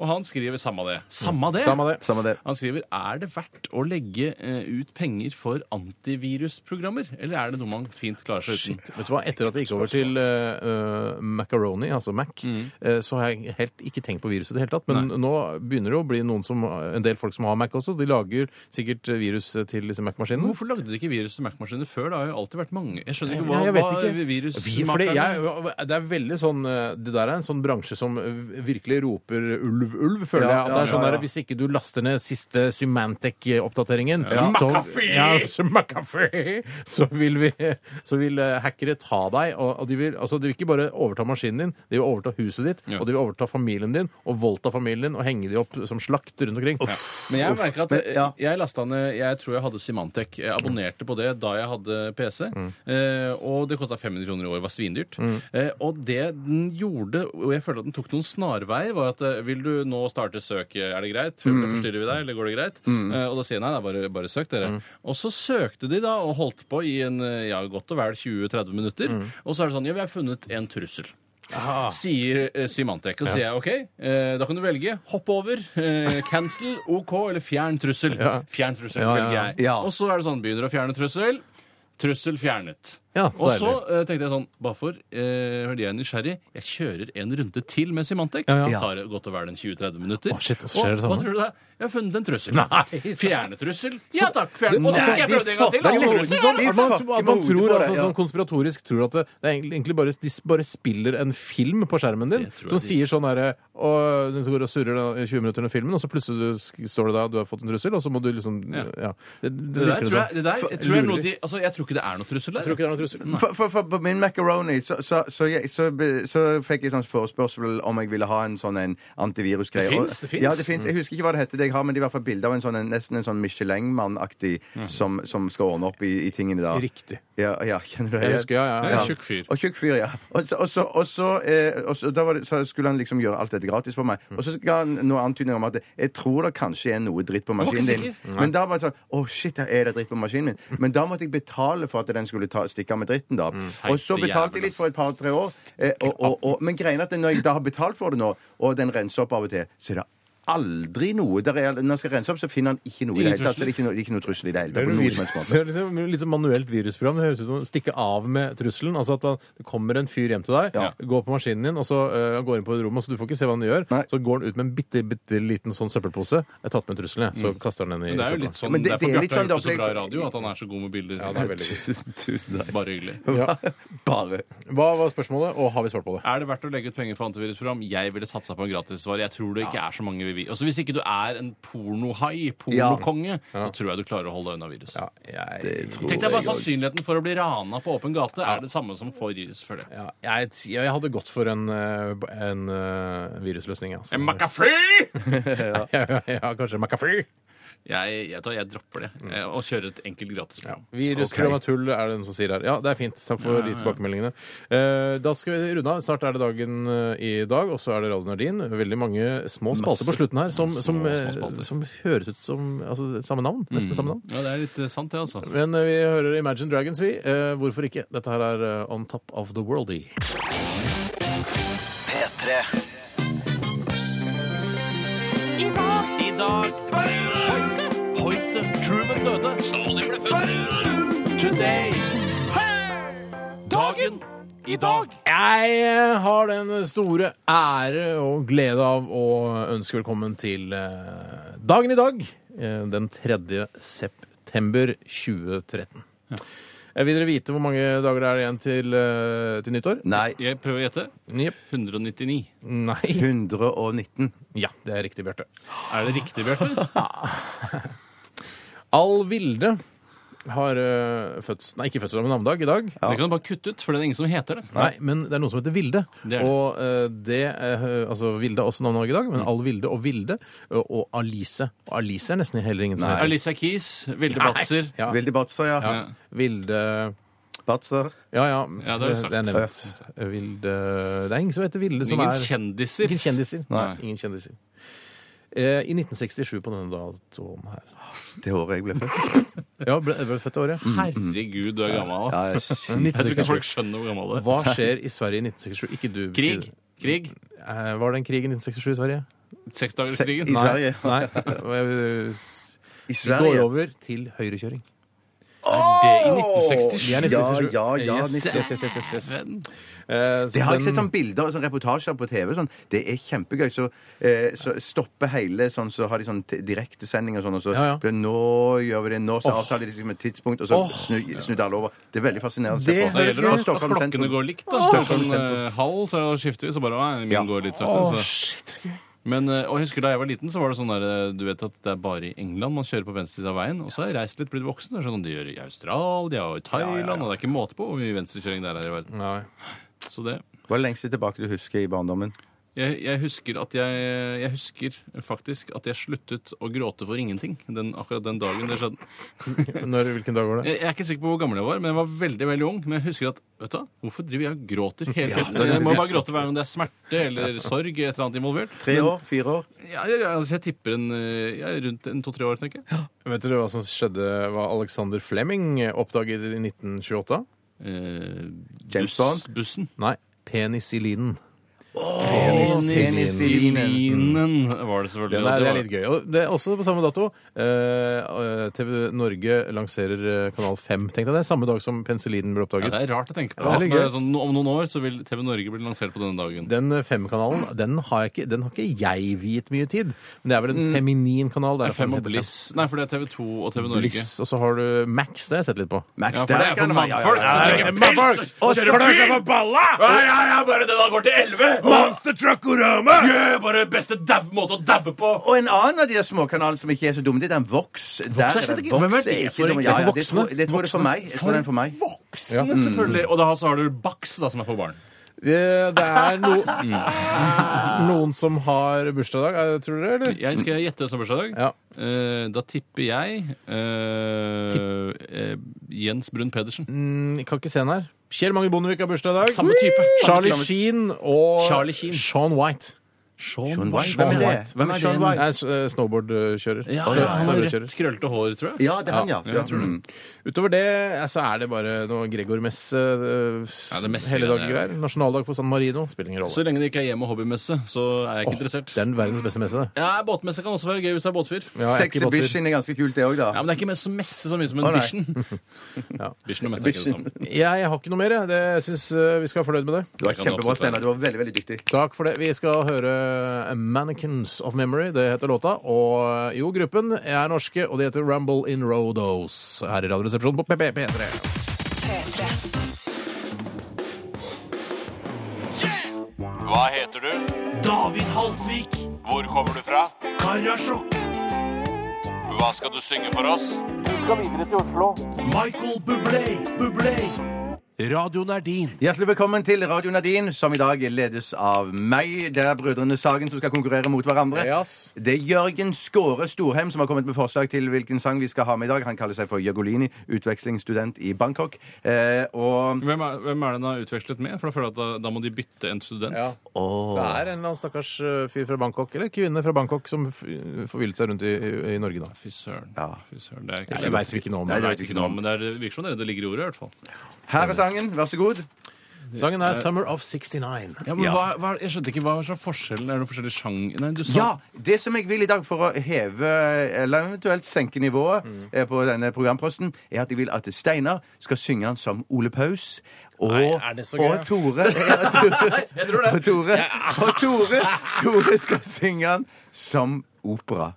E: Og han skriver samme det. Samme det?
C: Samme det.
D: Samme det.
E: Han skriver er det verdt å legge eh, ut penger for antivirusprogrammer, eller er det noe man fint klarer seg uten?
C: Shit. Vet du hva, Etter at vi gikk over til eh, eh, macaroni, altså Mac, eh, så har jeg helt ikke tenkt på viruset i det hele tatt. Men nå begynner det å bli noen som, en del folk som har Mac også, så de lager sikkert virus til disse Mac-maskinene.
E: Hvorfor lagde de ikke virus til Mac-maskiner før? Det har jo alltid vært mange. Jeg skjønner
C: Nei,
E: ikke hva,
C: jeg vet ikke.
E: hva virus
C: Vi- fordi jeg, det er veldig sånn eh, Det der er en sånn bransje som eh, virkelig roper ulv, ulv,
D: Ja,
C: føler jeg. At det
D: ja,
C: er sånn
D: ja,
C: der,
D: ja.
C: Hvis ikke du laster ned siste Symantec-oppdateringen så,
E: McAfee!
C: ja, så, McAfee, så vil vi Så vil eh, hackere ta deg. Og, og de, vil, altså, de vil ikke bare overta maskinen din, de vil overta huset ditt,
E: Ja.
C: og de vil overta familien din, og voldta familien din, og henge de opp som slakt rundt omkring.
E: Men jeg merker at
D: Men, ja.
E: jeg lasta ned Jeg tror jeg hadde Symantec. Jeg abonnerte på det da jeg hadde PC.
D: Mm.
E: Eh, og det kosta 500 kroner i år. Var svindyrt. Eh, og det den gjorde, og jeg følte at den tok noen snarveier, var at eh, vil du nå starte søk, eh, er det greit?
D: Mm.
E: Forstyrrer vi deg, eller går det greit? Eh, og da sier jeg nei, nei bare, bare søk, dere.
D: Mm.
E: Og så søkte de da, og holdt på i en, eh, ja, godt og vel 20-30 minutter.
D: Mm.
E: Og så er det sånn, ja, vi har funnet en trussel
C: Ah.
E: sier eh, Symantec. Og så sier jeg OK, eh, da kan du velge. Hopp over, eh, cancel, OK, eller fjern trussel. Fjern trussel,
C: Ja, ja, ja.
E: velger jeg.
D: Ja.
E: Og så er det sånn, begynner å fjerne trussel. Trussel fjernet.
C: Ja,
E: og så
C: deilig.
E: eh, tenkte jeg sånn Bare for eh, fordi jeg er nysgjerrig, jeg kjører en runde til med Symantec.
C: Ja,
E: Det tar godt og vel en 20-30 minutter.
C: Å, shit, og så skjer det
E: hva
C: samme.
E: tror du det er? Jeg har funnet en trussel.
C: Nei,
E: fjerne trussel? Ja takk. Fjerne.
C: Nei,
E: Og så skal jeg prøve det en gang til.
C: Det er
E: da.
C: nesten sånn at
D: fucker
C: man, at man
D: med
C: tror,
D: hodet på
C: altså,
D: det, ja.
C: sånn konspiratorisk tror at det, det er egentlig- egentlig bare, de s- bare spiller en film på skjermen din
E: Det tror jeg
C: som
E: de-
C: sier sånn herre og Du går og surrer da, i 20 minutter under filmen, og så plutselig du, sk- står det da du har fått en trussel, og så må du liksom Ja.
E: Ja.
C: Det, det
E: Det der
C: virker
E: tror
C: sånn.
E: jeg, det der, jeg, tror jeg, er noe de, altså, jeg tror ikke det er noe trussel der.
C: Tror ikke det er noen trussel.
D: For, for, for på min macaroni så, så, så, jeg, så, be- så fikk jeg sånn forespørsel om jeg ville ha en sånn en antivirusgreie.
E: Det finnes,
D: Og-
E: det finnes.
D: Ja, det finnes.
C: Mm.
D: Jeg husker ikke hva det heter, det jeg har, men det er i hvert fall bilde av en sånn, en, nesten en sånn Michelin-mann-aktig som, som skal ordne opp i, i tingene da.
C: Mm. Riktig.
D: Ja, ja, kjenner du det?
C: Jeg husker, ja, ja,
E: Jeg
C: ja.
E: er tjukk fyr.
D: Og tjukk fyr, ja. Og så, og så, og så, eh, og så, da var det, så skulle han liksom gjøre alt dette gratis for meg. Og så ga han noen antydninger om at jeg tror det kanskje er noe dritt på
E: var ikke
D: maskinen din.
E: sikker.
D: Men da var det sånn Å, shit, er det dritt på maskinen min? Men da måtte jeg betale for at den skulle ta, stikke av med dritten, da. Og så
E: feite
D: betalte jeg litt for et par-tre år. Eh, og, og, og, men greia er at når jeg da har betalt for det nå, og den renser opp av og til, så er det aldri noe der er, Når jeg skal rense opp, så finner han ikke noe i det hele tatt. Så det er ikke noe, det er ikke noe trussel i det hele
C: Det
D: tatt.
C: er
D: på
C: noe
D: noen som helst
C: virus-
D: måte.
C: det er liksom, litt sånn manuelt virusprogram. Det høres ut som å stikke av med trusselen. Altså at man, Det kommer en fyr hjem til deg,
D: Ja.
C: går på maskinen din, og så øh, går inn på rommet, så du får ikke se hva han gjør.
D: Nei.
C: Så går han ut med en bitte, bitte liten sånn søppelpose. Jeg har tatt med trusselen, jeg. Så
D: Mm.
C: kaster han den i
E: Men det er jo
C: søpla.
E: litt sånn,
D: Men det-
E: derfor
D: det er litt
E: Bjarte har
D: sånn
E: gjort det så
D: det
E: bra i
D: opplegg-
E: radio, at han er så god med bilder.
C: Ja, det er veldig godt.
D: Tusen, tusen takk.
E: Bare hyggelig.
C: Ja.
D: Bare.
C: Hva var spørsmålet, og har vi svart på det?
E: Er det verdt å legge ut penger for antivirusprogram? Jeg ville satsa på en gratisvare. Jeg tror det ikke er så mange vi vil. Også hvis ikke du er en pornohai, pornokonge, så tror jeg du klarer å holde deg unna virus.
C: Ja, jeg,
E: Tenk deg bare sannsynligheten for å bli rana på åpen gate er det samme som for virus, føler jeg.
C: ja, jeg, jeg hadde gått for en, øh, en øh, virusløsning, altså.
E: En McAfee!
C: ja. Ja, ja, kanskje McAfee.
E: Jeg, jeg, tar- jeg dropper det. eh, Og kjører et enkelt gratisprogram.
C: Virusprogram er tull, er det noen som sier her. Ja, det er fint. Takk for de tilbakemeldingene. Eh, da skal vi runde av. Snart er det dagen eh, i dag, og så er det Radio Nardin. Veldig mange små spalter på slutten her som, som, eh,
E: små spalter.
C: som høres ut som altså, samme navn. Nesten samme navn.
E: Ja, det er litt eh, sant, det, altså.
C: Men eh, vi hører Imagine Dragons, vi. Eh, hvorfor ikke? Dette her er eh, On Top of the Worldy.
B: P3.
E: I dag Hoite Hoite Truman døde Stalin ble født Today Dagen I dag
C: Jeg eh, har den store ære og glede av å ønske velkommen til eh, dagen i dag, eh, den 3. september 2013. Eh, Vil dere vite hvor mange dager det er igjen til, eh, til nyttår?
D: Nei.
E: Jeg prøver å gjette
C: Jep.
E: 199
C: Nei.
D: 119.
C: Ja, det er riktig, Bjarte.
E: Er det riktig, Bjørn?
C: Al Vilde har eh, fødsel... Nei, ikke fødsel, men navnedag i dag.
E: Det kan du bare kutte ut For det er ingen som heter det
C: Nei, men det er noen som heter Vilde.
E: Det er det. Mm.
C: Og eh, det eh, Altså, Vilde er også navnet i dag, men Al Vilde og Vilde eh, og Alice. Og Alice er nesten heller ingen som heter
E: Eh, Alicia Keys Vilde Batser
C: Ja.
D: Vilde Batser, ja.
E: Ja.
C: Vilde
D: Batser.
C: Ja, ja.
E: Ja, det har vi sagt.
C: er nevnt. Vilde Det er ingen som heter Vilde som
E: Ingen
C: er
E: kjendiser
C: Ingen kjendiser.
E: Nei.
C: Ingen kjendiser. eh, i 1967 på denne datoen her.
D: Det året jeg ble født.
C: Ja, ble, ble født det året, ja.
E: Herregud, du er gammel,
D: Ja,
E: ass.
D: sykt.
E: Mm. Jeg tror ikke folk skjønner hvor gammel du er.
C: Hva skjer i Sverige i 1967? Ikke du.
E: Krig?
C: sier-
E: Krig?
C: Eh, var det en krig i 1967 i Sverige?
D: I
E: Seksdagerskrigen?
D: Se- Sverige?
C: Nei. nei.
D: I
C: Vi går
D: Sverige
C: over til høyrekjøring.
E: Er det i
C: Vi er
E: 1967?
C: 1967.
D: Ja, ja, ja,
C: yes, yes, yes, yes, yes.
E: Verden.
C: Eh, så
D: Det har jeg
C: den-
D: sett sånn bilder og sånn reportasjer på TV. Sånn. Det er kjempegøy. Så, eh, så stopper hele sånn, så har de sånn t- direktesending og sånn, og så
C: Ja, ja.
D: blir det, Nå gjør vi det, nå så
C: Åh.
D: avtaler de liksom et tidspunkt, og så
C: Åh.
D: snu- snudde alle over. Det er veldig fascinerende å se
C: Det
D: på.
E: Da gjelder det
D: Og
E: at
D: Stockholm sentrum.
E: klokkene går likt. da Klokken eh, halv, så skifter vi, så bare nei, min
D: Ja.
E: går litt sakte. Så. Men, eh, og jeg husker Da jeg var liten, så var det sånn der, eh, du vet at det er bare i England man kjører på venstre side av veien. Og så har jeg reist litt, blitt voksen. Det er sånn, de gjør det i Australia og i Thailand. Og det er ikke måte på hvor mye venstrekjøring det er i verden.
C: Nei.
E: Så det
D: Hva er det lengste tilbake du husker i barndommen?
E: jeg, jeg husker at jeg, jeg husker faktisk at jeg sluttet å gråte for ingenting den, akkurat den dagen det skjedde.
C: Når, hvilken dag var det?
E: Jeg, jeg er ikke sikker på hvor gammel jeg var, men jeg var veldig veldig ung. Men jeg husker at vet du, hva? hvorfor driver jeg og gråter hele tiden? jeg må bare gråte hver gang det er smerte eller sorg et eller annet involvert.
D: Tre år? Fire år?
E: Ja, jeg, jeg, altså, jeg tipper en, eh, ja, rundt en to-tre år, tenker jeg.
C: Vet dere hva som skjedde, hva Alexander Fleming oppdaget i 1928?
E: Eh,
D: James Bond?
E: Bussen.
C: Nei, penicillinen.
E: Penicillinen var det selvfølgelig.
C: Den
E: og
C: er, det er
E: det var-
C: litt gøy. Og det er også på samme dato. Eh, TV Norge lanserer eh, Kanal 5, tenkte jeg. Det er samme dag som penicillinen ble
E: ja,
C: oppdaget.
E: det er rart å tenke på.
C: Ja,
E: at
C: det er
E: det er
C: gøy.
E: sånn, om noen år så vil TV Norge bli lansert på denne dagen.
C: Den eh, femkanalen den har, jeg ikke, den har ikke jeg viet mye tid. Men det er vel en feminin kanal.
E: Mm. Det
C: der
E: er Fem
C: den
E: og
C: heter
E: Bliss. Nei, for det er TV 2 og TV Norge.
C: Bliss. Og så har du Max. Det har jeg sett litt på.
D: Max
E: Ja, for det er for
D: kan være- ja, ja,
E: mannfolk.
D: ja, ja.
E: som drikker pils og kjører forbi på balla! Ja, ja, ja, bare det da går til elleve! Monster Truckorama! Yeah, bare beste dau- måte å daue på!
D: Og en annen av de der småkanalene som ikke er så dumme, det er den Vox. Der
E: er slett ikke- Hvem er det for
D: dumme.
E: egentlig?
D: Ja, ja,
E: For
D: det tror det tror jeg er for meg. Jeg tror det er for meg.
E: Voksne, selvfølgelig. Og da så har du Bax, da, som er for barn.
C: Det, det er no, Mm. noen som har bursdag i dag, eh, tror dere? Eller?
E: Jeg skal gjette hvem som har bursdag i dag.
C: Ja.
E: Eh, da tipper jeg eh, eh, Jens Brun Pedersen.
C: Mm, kan ikke se den her. Kjell Magne Bondevik har bursdag i dag.
E: Samme type.
C: Charlie
E: Samme type.
C: Sheen og
E: Charlie Sheen.
C: Sean White.
E: Sean
D: White.
E: Hvem er
D: Hvem er
E: det?
D: det?
E: Hvem er det?
C: Nei, s- eh, Snowboardkjører.
E: Ja,
C: Snø-
E: ja, han har
C: snøbrødkjører.
E: rødt, krøllete hår, tror jeg.
D: Ja, det er han, ja. ja. Mm.
C: Utover det eh, så er det bare noe Gregor Messe,
E: Ja,
C: ja,
E: det Messe
C: hele dagen
E: greier.
C: greier. Nasjonaldag for San Marino spiller ingen
E: Så
C: rolle.
E: lenge det ikke er hjem- og hobbymesse, så er jeg ikke interessert.
C: Det er den verdens beste messe, det.
E: Ja, Båtmesse kan også være gøy hvis du er båtfyr.
C: Ja, jeg er ikke båtfyr.
D: Sexhibition er ganske kult, det òg, da.
E: Ja, men det er ikke mest som messe så mye som en
D: Å, nei.
E: bishen.
C: Ja.
E: Bishen og messe er ikke det samme.
C: Jeg har ikke noe mer. jeg. Det syns vi skal være fornøyd med det.
D: Du var
E: kan
D: kjempebra,
E: absolutt være.
D: Steinar. Du var veldig, veldig dyktig.
C: Takk for det. Vi skal høre eh, Mannequins of Memory, det heter låta. Og eh, jo, gruppen er norske, og de heter Rumble in Rodos. Her i Radioresepsjonen på PP P3.
A: P3.
I: Hva heter du?
G: David Haltvik.
I: Hvor kommer du fra?
G: Karasjok.
I: Hva skal du synge for oss?
G: Michael Bublé. Bublé. Radioen er din.
D: Hjertelig velkommen til Radio Nadine, som i dag ledes av meg. Det er Brødrene Sagen som skal konkurrere mot hverandre.
C: Yes.
D: Det er Jørgen Skåre Storheim som har kommet med forslag til hvilken sang vi skal ha med i dag. Han kaller seg for Jørgolini, utvekslingsstudent i Bangkok. Eh, og
E: Hvem er, hvem er det han har utvekslet med? For da føler jeg at da, da må de bytte en student.
C: Ja. Det er en eller annen stakkars eh, fyr fra Bangkok, eller kvinne fra Bangkok, som f- forvillet seg rundt i, i- i Norge, da.
E: Fy søren.
D: Ja.
E: Fy søren. Det er ikke
C: Nei, det vet vi ikke noe om.
D: Nei,
E: Jeg vet ikke noe, om, men det er- det virker som det er det det ligger i ordet, i hvert fall.
D: her er sangen. Vær så god.
C: Sangen er 'Summer of 69'.
E: Ja, men
D: Ja.
E: Hva, hva, jeg skjønte ikke hva slags forskjell Er det noen forskjellig sjang... Nei, du sa
D: Ja! Det som jeg vil i dag for å heve, eller eventuelt senke nivået
C: Mm.
D: eh, på denne programposten, er at jeg vil at Steinar skal synge han som Ole Paus. Og,
C: Nei, er det så gøy?
D: og Tore Jeg tror det. Og Tore, og Tore, Tore skal synge han som opera.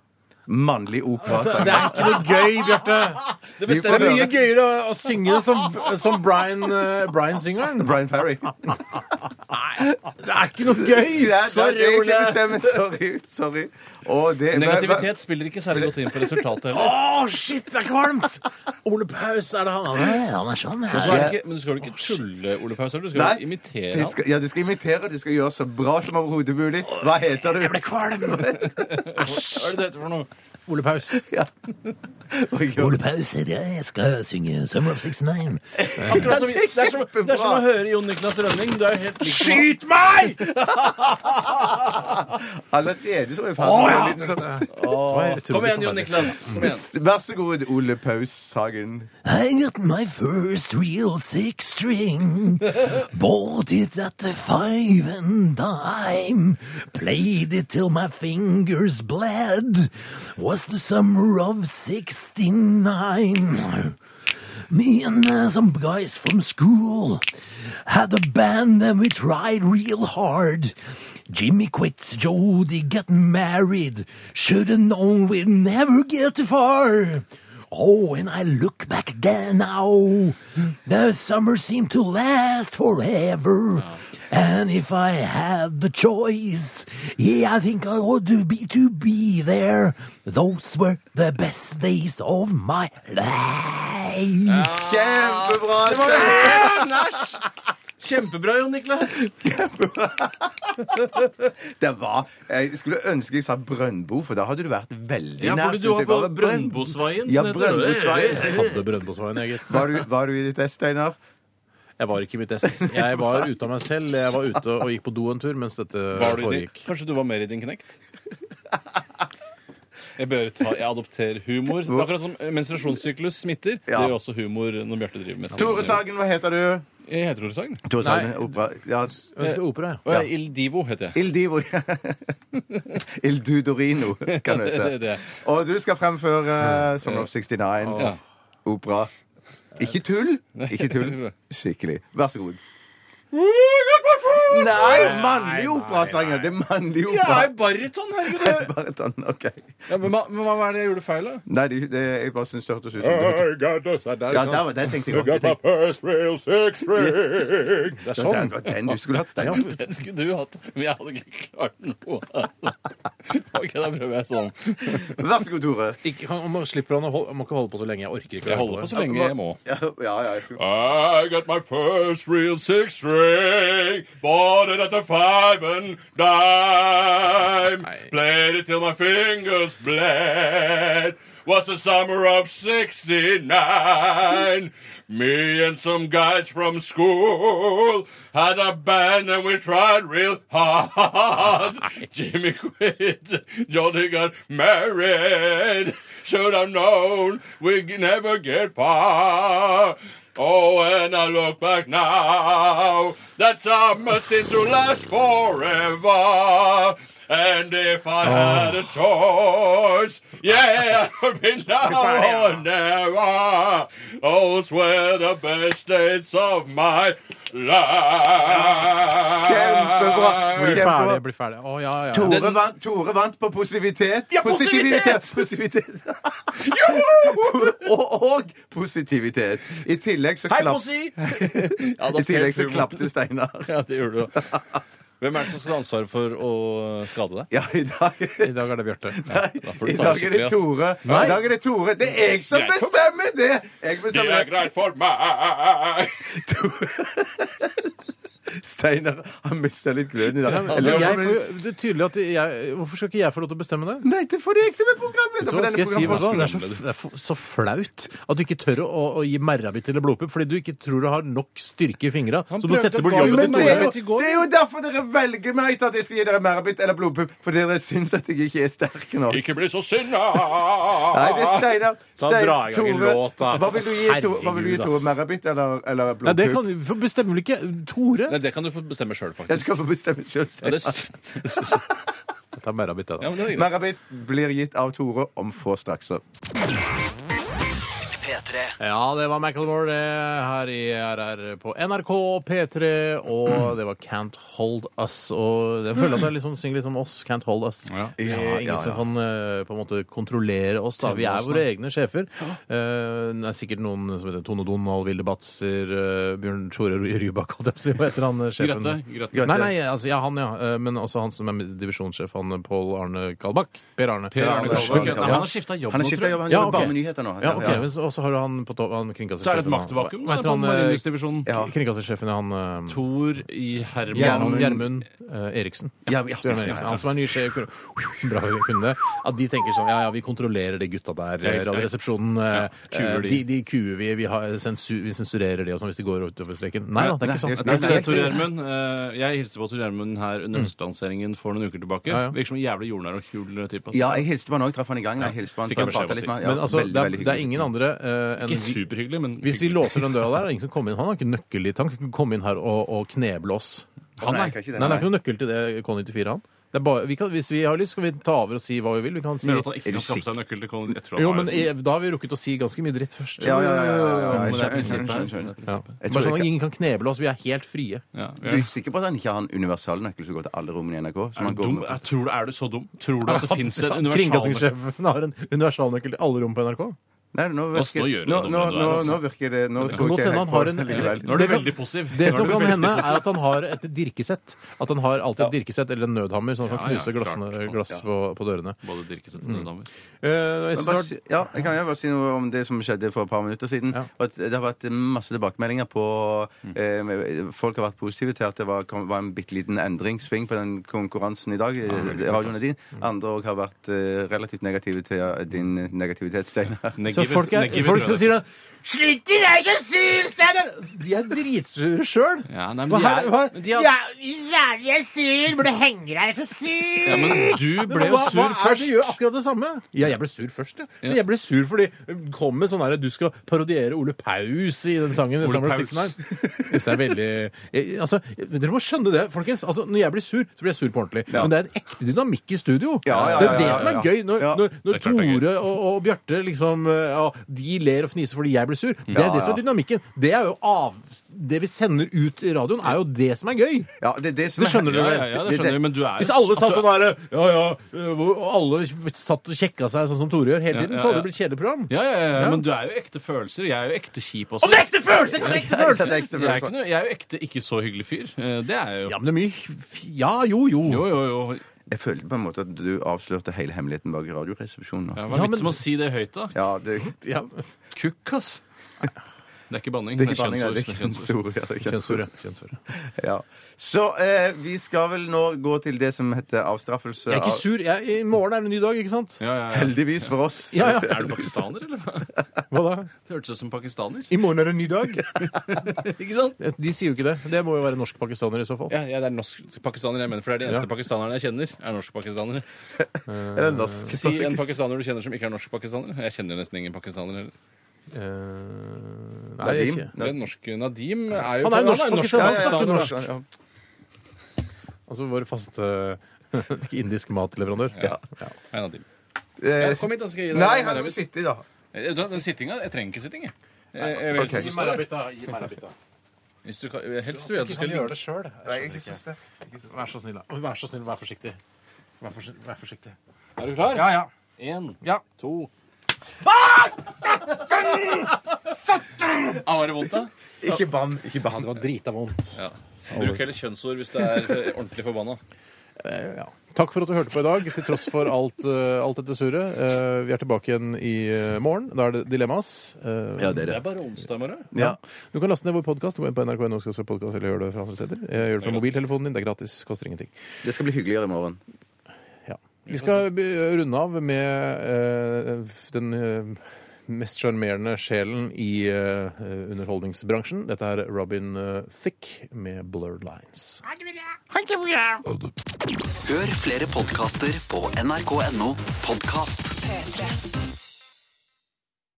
D: Mannlig operasanger.
C: Altså, Det er ikke noe gøy, Bjarte. Det
D: får
C: er mye
D: høre.
C: gøyere å, å synge det som, som Brian, eh, Brian syngeren.
D: Brian Ferry.
C: Det er ikke noe gøy!
D: Sorry, Ole. Sorry. sorry. Og det,
E: Negativitet spiller ikke særlig godt inn på resultatet heller.
C: Å, shit, det er kvalmt! Ole Paus, er det han? Han er, han er sånn.
E: Og så er det ikke, men du skal vel ikke tulle Ole Paus? eller? Du skal vel imitere
D: Du
E: han?
D: skal, ja, du skal imitere, du skal gjøre så bra som overhodet mulig. Hva heter du?
C: kvalm!
E: Hva er det det heter for noe?
C: Ole Paus.
D: Ole
C: Paus, jeg skal synge Summer of 69.
E: Akkurat som, det, er som, det er som å høre Jon Niklas Rønning. Det er jo helt likt.
C: Skyt meg!
D: Allerede så er jeg ferdig med en liten sånn
E: Kom igjen, Jon Niklas. Kom igjen.
D: Vær så god, Ole Paus Sagen.
C: I got my first real six string. Bought it at the five and dime. Played it till my fingers bled. Was the summer of 69. Me and uh, some guys from school had a band and we tried real hard. Jimmy quit, Jody got married. Should've known we'd never get far. Oh, and I look back then now. The summer seemed to last forever. And if I had the choice, yeah, I think I would be to be there. Those were the best days of my life.
D: Kjempebra! Stein.
E: Kjempebra, Jon Niklas.
D: Det var Jeg skulle ønske jeg sa Brøndbo, for da hadde du vært veldig
E: Ja,
D: nær.
E: fordi du
D: synes
E: har
D: jeg.
E: på
D: Var det
E: Brøndbosveien,
D: Ja,
E: som heter det.
D: Brøndbosveien.
C: Hadde Brøndbosveien eget.
D: Var du, var du i ditt ess, Steinar?
C: Jeg var ikke i mitt ess. Jeg var ute av meg selv. Jeg var ute og gikk på do en tur mens dette
E: Var du i din,
C: foregikk.
E: kanskje du var mer i din knekt? Jeg, bør ta, jeg adopterer humor. Akkurat som eh, menstruasjonssyklus smitter. Det
D: Ja.
E: gjør også humor når Bjarte driver med
D: Tore Sagen, hva heter du?
E: Jeg heter Tore Sagen.
D: Tore
C: Sagen,
D: Ja.
C: Jeg ønsker opera, jeg.
E: Og jeg, Il Divo heter jeg.
D: Il Divo. Il Dudorino, kan du
E: Det er
D: hete.
E: det.
D: Og du skal fremføre eh, Summer of 69,
E: Ja.
D: opera. Ikke tull. Ikke tull. Skikkelig. Vær så god. Nei, mannlig operasanger! Det er mannlig opera.
E: baryton, herregud!
D: Bare sånn, OK.
E: Ja, men, hva- men hva var det jeg gjorde feil, da?
D: Nei, det, det, jeg bare syns det hørtes ut som det. Ja, der var den tenkte jeg også.
C: first real six string. Det er
D: Den,
C: sånn.
D: var den du skulle hatt,
C: Ja,
D: Steinar.
E: Den skulle du hatt. Men jeg hadde ikke klart noe. OK, da prøver jeg sånn.
D: Vær så god, Tore.
C: Ikke, kan, man slipper han å holde, man kan holde på så lenge. Jeg orker ikke. å
E: Jeg
C: holde
E: holder på så lenge jeg må.
D: Ja, ja, ja, jeg skal...
I: I got my first real six string. Bought it at the five and dime.
C: Nei.
I: Played it till my fingers bled. Was the summer of 69. Me and some guys from school had a band and we tried real hard. Jimmy quit. Jody got married. Should have known we'd never get far. Oh, and I look back now, that summer seemed to last forever. And if I
E: Ah.
I: had a choice, yeah, it would be now or never.
E: oh,
I: Those were the best days of my life.
D: Kjempebra. Kjempebra.
C: Ferdig, bli ferdig. Å, ja, ja.
D: Tore, vant, Tore vant på positivitet. positivitet. og, og positivitet. I tillegg så, klapp,
E: Ja, da
D: i tillegg så
E: prøver-
D: klappte Steinar.
E: Ja, det gjorde du. Hvem er det som skal ha ansvaret for å skade deg?
D: Ja, i dag,
C: I dag er det Bjarte.
E: Da får
D: i
E: du ta
D: dag er
E: det
D: det
E: skikkelig. ass.
D: Tore. I dag er det Tore. Det er jeg som
I: Greit.
D: bestemmer det! Jeg
I: Det er
D: bestemmer
I: greit for meg.
D: Steinar har mista litt gløden i dag.
C: Eller, jeg, får- det er tydelig at jeg, Hvorfor skal ikke jeg få lov til å bestemme det?
D: Nei, det er fordi jeg som er programleder
C: Vet du
D: for
C: hva,
D: denne
C: skal jeg si hva da? Det er så,
D: programposten.
C: det er f- så flaut at du ikke tør å, å gi merrabitt eller blodpupp fordi du ikke tror du har nok styrke i fingra. Så du
E: prøvde
C: setter bort
E: bare-
C: jobben
D: Men
C: til
D: det er, jo,
C: Tore.
E: i går.
D: det er jo derfor dere velger meg til at jeg skal gi dere merbitt eller blodpupp. Fordi dere syns at jeg ikke er sterk nok.
I: Ikke bli så
D: Nei, det er
I: sinna.
D: Steinar.
E: Ah! Da
D: Stein-
E: drar jeg i gang en
D: Tore,
E: låt, da.
D: Hva vil du gi Tore? Hva vil du gi
C: Herregud,
D: Tore
C: ass.
D: Merabit eller, eller
C: Nei, det
D: blodpupp?
C: kan, for bestemmer vel ikke Tore?
E: Nei, det kan du få bestemme sjøl, faktisk.
D: Jeg skal få bestemme sjøl.
E: Ja, det, s- det synes jeg.
C: Jeg tar merrabitt, jeg,
E: Ja,
C: da.
E: men det er greit.
D: Merabit blir gitt av Tore om få strakser.
B: P3.
C: Ja, det var Macclemore, det, her i RR på NRK P3. Og det var Can't Hold Us. Og jeg føler at jeg liksom synger litt om oss. Can't Hold Us. Det er
D: Ja, ja,
C: ingen som
D: ja.
C: kan eh, på en måte kontrollere oss. da. Vi er våre egne sjefer. Eh, det er sikkert noen som heter Tone Donald, Vilde Batzer, eh, Bjørn Tore Ry- Rybak holdt jeg på å si. Hva heter han eh, sjefen?
E: Grøtte, grøtte.
C: Nei, nei, altså, ja, han, ja. Eh, Men også han som er divisjonssjef, han eh, Pål Arne Kalbakk. Per Arne.
E: Per Arne Kalbakk. Nei, Han har skifta jobb
D: Han
E: nå,
D: har skifta
E: tror jeg.
D: jobb. Han
C: Ja,
D: jobber
C: ok.
D: bare med nyheter nå.
C: Ja, ok, men så- Og så har du han på topp? Han kringkastersjefen.
E: Så er det
C: han-
E: et maktvakuum
C: Hva
E: da,
C: heter
E: på
C: han, eh,
E: Marienlyst-divisjonen.
D: Ja.
C: Kringkastersjefen er han eh,
E: Tor i Herman
C: Gjermund Gjermund, eh, Eriksen.
D: Ja, ja,
C: Tor Gjermund
D: ja,
C: Eriksen.
D: ja.
C: Han som er ny sjef. Bra kunde. At de tenker sånn Ja, ja, vi kontrollerer de gutta der.
E: riktig.
C: Radioresepsjonen. eh,
E: kuer
C: eh,
E: de.
C: de, de kuer vi. Vi, har sensu, vi sensurerer de og sånn hvis de går utover streken. Nei da, det er ikke
D: Nei,
C: sånn.
E: Jeg tror
D: Nei,
E: ikke det
D: nei,
E: er Tor
D: nei.
E: Gjermund. Eh, Jeg hilste på Tor Gjermund her under høstlanseringen for noen uker tilbake.
C: Ja, ja.
E: Virker som en jævlig jordnær og kul type. altså.
D: Ja, jeg hilste på han òg. Traff han i gangen. Jeg hilste på han,
E: Fikk jeg beskjed om
D: pratet
E: å
D: litt
E: si.
D: med han.
C: Men altså,
D: veldig,
C: det er,
D: veldig
C: det er ingen andre eh, enn
E: Ikke
C: vi,
E: superhyggelig, men
C: Hvis vi
E: hyggelig.
C: låser den døra der, er det ingen som kommer inn. Han har ikke nøkkel dit. Han kan ikke komme inn her og, og kneble oss.
E: Han
D: Nei,
E: er
D: jeg kan ikke det,
C: Nei, det er
D: nei.
C: ikke noen nøkkel til det K94, han. Det er bare, vi kan, hvis vi har lyst, skal vi ta over og si hva vi vil. Vi kan si
E: Mener du at han
D: Er
E: ikke
D: du
E: kan skaffe seg nøkkel til Colin? Jeg tror han
C: Jo,
E: har
C: men
E: det.
C: i- da har vi rukket å si ganske mye dritt først.
D: Ja, ja, ja, ja, ja, ja.
E: men det er
D: Jeg skjønner,
E: prinsippet her.
D: skjønner, skjønner.
C: Ja.
D: Jeg
C: Bare
D: tror
C: sånn at
D: ikke-
C: ingen kan kneble oss. Vi er helt frie.
E: Ja,
D: Du
E: ja.
D: er sikker på at han ikke har en universalnøkkel som går til alle rommene i NRK? Som
E: Er
D: han
E: du
D: går
E: dum?
D: med?
E: Jeg tror, er du så dum? Tror du at det fins en universal
C: Kringkastingssjefen har en universalnøkkel til alle rom på NRK.
D: Nei, nå
E: Nå- nå
D: virker,
E: gjør
D: nå,
E: du det
D: nå,
E: dummere enn du er,
D: nå,
E: altså.
D: nå virker det Nå tror
C: Det kan
D: ikke
C: godt
D: jeg helt
C: hende han
D: på
C: har en
D: det likevel.
E: Nå er du
C: det kan-
E: veldig positiv.
C: Det
E: Nå er
C: som
E: du
C: kan
E: veldig
C: hende,
E: positiv.
C: er at han har et dirkesett. At han har alltid et dirkesett eller en nødhammer, så han
E: Ja,
C: kan
E: ja,
C: knuse
E: klart.
C: glassene, glass på, på dørene.
E: Både dirkesett og damer.
C: Eh, jeg
D: Men
C: synes det
D: bare
C: var-
D: si- Ja, jeg kan jo bare si noe om det som skjedde for et par minutter siden.
C: Ja.
D: At det har vært masse tilbakemeldinger på
E: Mm.
D: eh, Folk har vært positive til at det var, kom, var en bitte liten endringssving på den konkurransen i dag. eh, radioen er din.
C: Mm.
D: Andre òg har vært eh, relativt negative til eh, din negativitet, Steinar.
C: Så
E: Negative-
C: folk, er,
E: negative
C: folk som
E: tror jeg
C: sier at Slutt i deg som syr, Steinar! De er dritsure sjøl.
E: det. ja, nei, men
C: Hva
E: de
C: er
E: er,
C: hva-
E: men de
C: Ja,
E: er,
C: Jævlig sur! Burde henge deg så sur!
E: ja, men du ble jo
C: hva,
E: sur
C: hva er det
E: først.
C: du gjør akkurat det samme? Ja, jeg ble sur først, ja. Men jeg ble sur fordi kom med sånn her du skal parodiere Ole Paus i den sangen.
E: Ole
C: Ole
E: Paus.
C: Paus. Hvis det er veldig jeg, altså, Dere må skjønne det, folkens. Altså, når jeg blir sur, så blir jeg sur på ordentlig. Men det er en ekte dynamikk i studio.
D: Ja, ja, ja,
C: det er det
D: ja, ja,
C: som er
D: ja.
C: gøy. Når,
D: Ja.
C: når,
E: Det
C: når
E: er klart det er gøy.
C: Tore og, og Bjarte liksom ja, De ler og fniser fordi jeg blir sur. Det er
D: Ja,
C: det som er
D: ja.
C: dynamikken. Det er jo av Det vi sender ut i radioen, er jo det som er gøy.
D: Ja, det, er det, som
C: Det
D: er-
C: skjønner du
E: Ja,
C: vel?
E: ja, ja, det skjønner jeg, men du er
C: Hvis
E: jo
C: alle
E: at
C: satt
E: du-
C: sånn her Ja, ja øh, hvor- Og alle satt og kjekka seg sånn som Tore gjør hele
E: Ja,
C: tiden,
E: ja,
C: så hadde
E: ja.
C: det blitt kjedelig program.
E: Ja, ja, ja, ja, men du er jo ekte følelser. Jeg er jo ekte kjip også.
C: Om det er ekte følelser! om det er ekte
D: Det er
C: følelser!
D: ekte
E: Jeg er, ikke
D: følelser.
E: noe, jeg er jo ekte ikke så hyggelig fyr. Eh, Det er jeg jo.
C: Ja, men det er mye f- Ja, jo, jo.
E: Jo, jo, jo.
D: Jeg følte på en måte at du avslørte hele hemmeligheten bak Radioresepsjonen nå.
E: Ja,
D: Ja.
E: Hva er
C: Ja,
E: vitsen
C: men-
E: med å si det høyt, da?
D: det,
C: Ja.
E: Kukk, ass. Det er ikke banning.
D: det er ikke banning, det er
E: kjønnsord.
D: kjønnsord. ja, det er kjønnsord.
C: Kjønnsord, ja. Kjønnsord, ja.
D: Ja. Så eh, vi skal vel nå gå til det som heter avstraffelse.
C: Jeg er ikke
D: av-
C: sur. Jeg, I morgen er det en ny dag, ikke sant?
E: Ja, ja, ja.
D: Heldigvis for oss.
C: Ja, ja.
E: Er du pakistaner, eller hva?
C: Hva da?
E: Det hørtes ut som pakistaner.
C: I morgen er det en ny dag.
E: Ikke sant?
C: De sier jo ikke det. Det må jo være norske pakistanere i så fall.
E: Ja, ja, det er norsk-pakistaner jeg mener, for det er de eneste pakistanerne jeg kjenner, er norsk-pakistanere.
D: Er det norsk?
E: Si en pakistaner du kjenner som ikke er norsk-pakistaner. Jeg kjenner nesten ingen pakistanere. heller.
C: Eh, Nei, jeg er
D: Nadim?
C: ikke.
E: Det er norsk Nadim er jo
C: Han er jo norsk-
D: Ja,
C: Han
D: ja, ja,
C: snakker
D: ja,
C: norsk.
D: ja.
C: Altså vår faste indisk matleverandør. Ja.
E: Hei, Nadim.
D: Eh,
E: Ja, kom hit, da skal jeg gi deg
D: Nei,
E: en
D: han må
E: arabisk.
D: sitte i, da.
E: Eh, vet du hva, Den sittinga Jeg trenger ikke sitting, jeg. Jeg- jeg vil helst at du står her. Hvis du kan, helst vil jeg at du skal ligge.
C: det sjøl.
D: Nei, jeg synes det.
C: Vær så snill, da. Vær så snill, vær forsiktig. Vær, forsi- vær forsiktig.
E: Er du klar?
C: Ja, ja.
E: En,
C: Ja.
E: to Ah, var det vondt, da?
D: Ikke bann. Ikke
C: Det
D: bann.
C: var drita vondt.
E: Ja. Bruk heller kjønnsord hvis du er eh, ordentlig forbanna.
C: Ja. Takk for at du hørte på i dag, til tross for alt, eh, alt dette surret. Eh, vi er tilbake igjen i eh, morgen. Da er det Dilemmas. Eh,
D: Ja, det er
E: Det er
D: det.
E: bare onsdag i morgen.
D: Ja.
C: Du kan laste ned vår podkast. Gå inn på nrk.no podcast, eller gjør det fra andre steder. Eh, gjør det fra mobiltelefonen din. Det er gratis. Koster ingenting.
D: Det skal bli hyggeligere i morgen.
C: Ja. Vi skal be- runde av med eh, f- den eh, mest sjarmerende sjelen i eh, underholdningsbransjen. Dette er Robin eh, Thicke med Blurred Lines.
B: Hør flere podkaster på nrk.no podkast.
A: P3.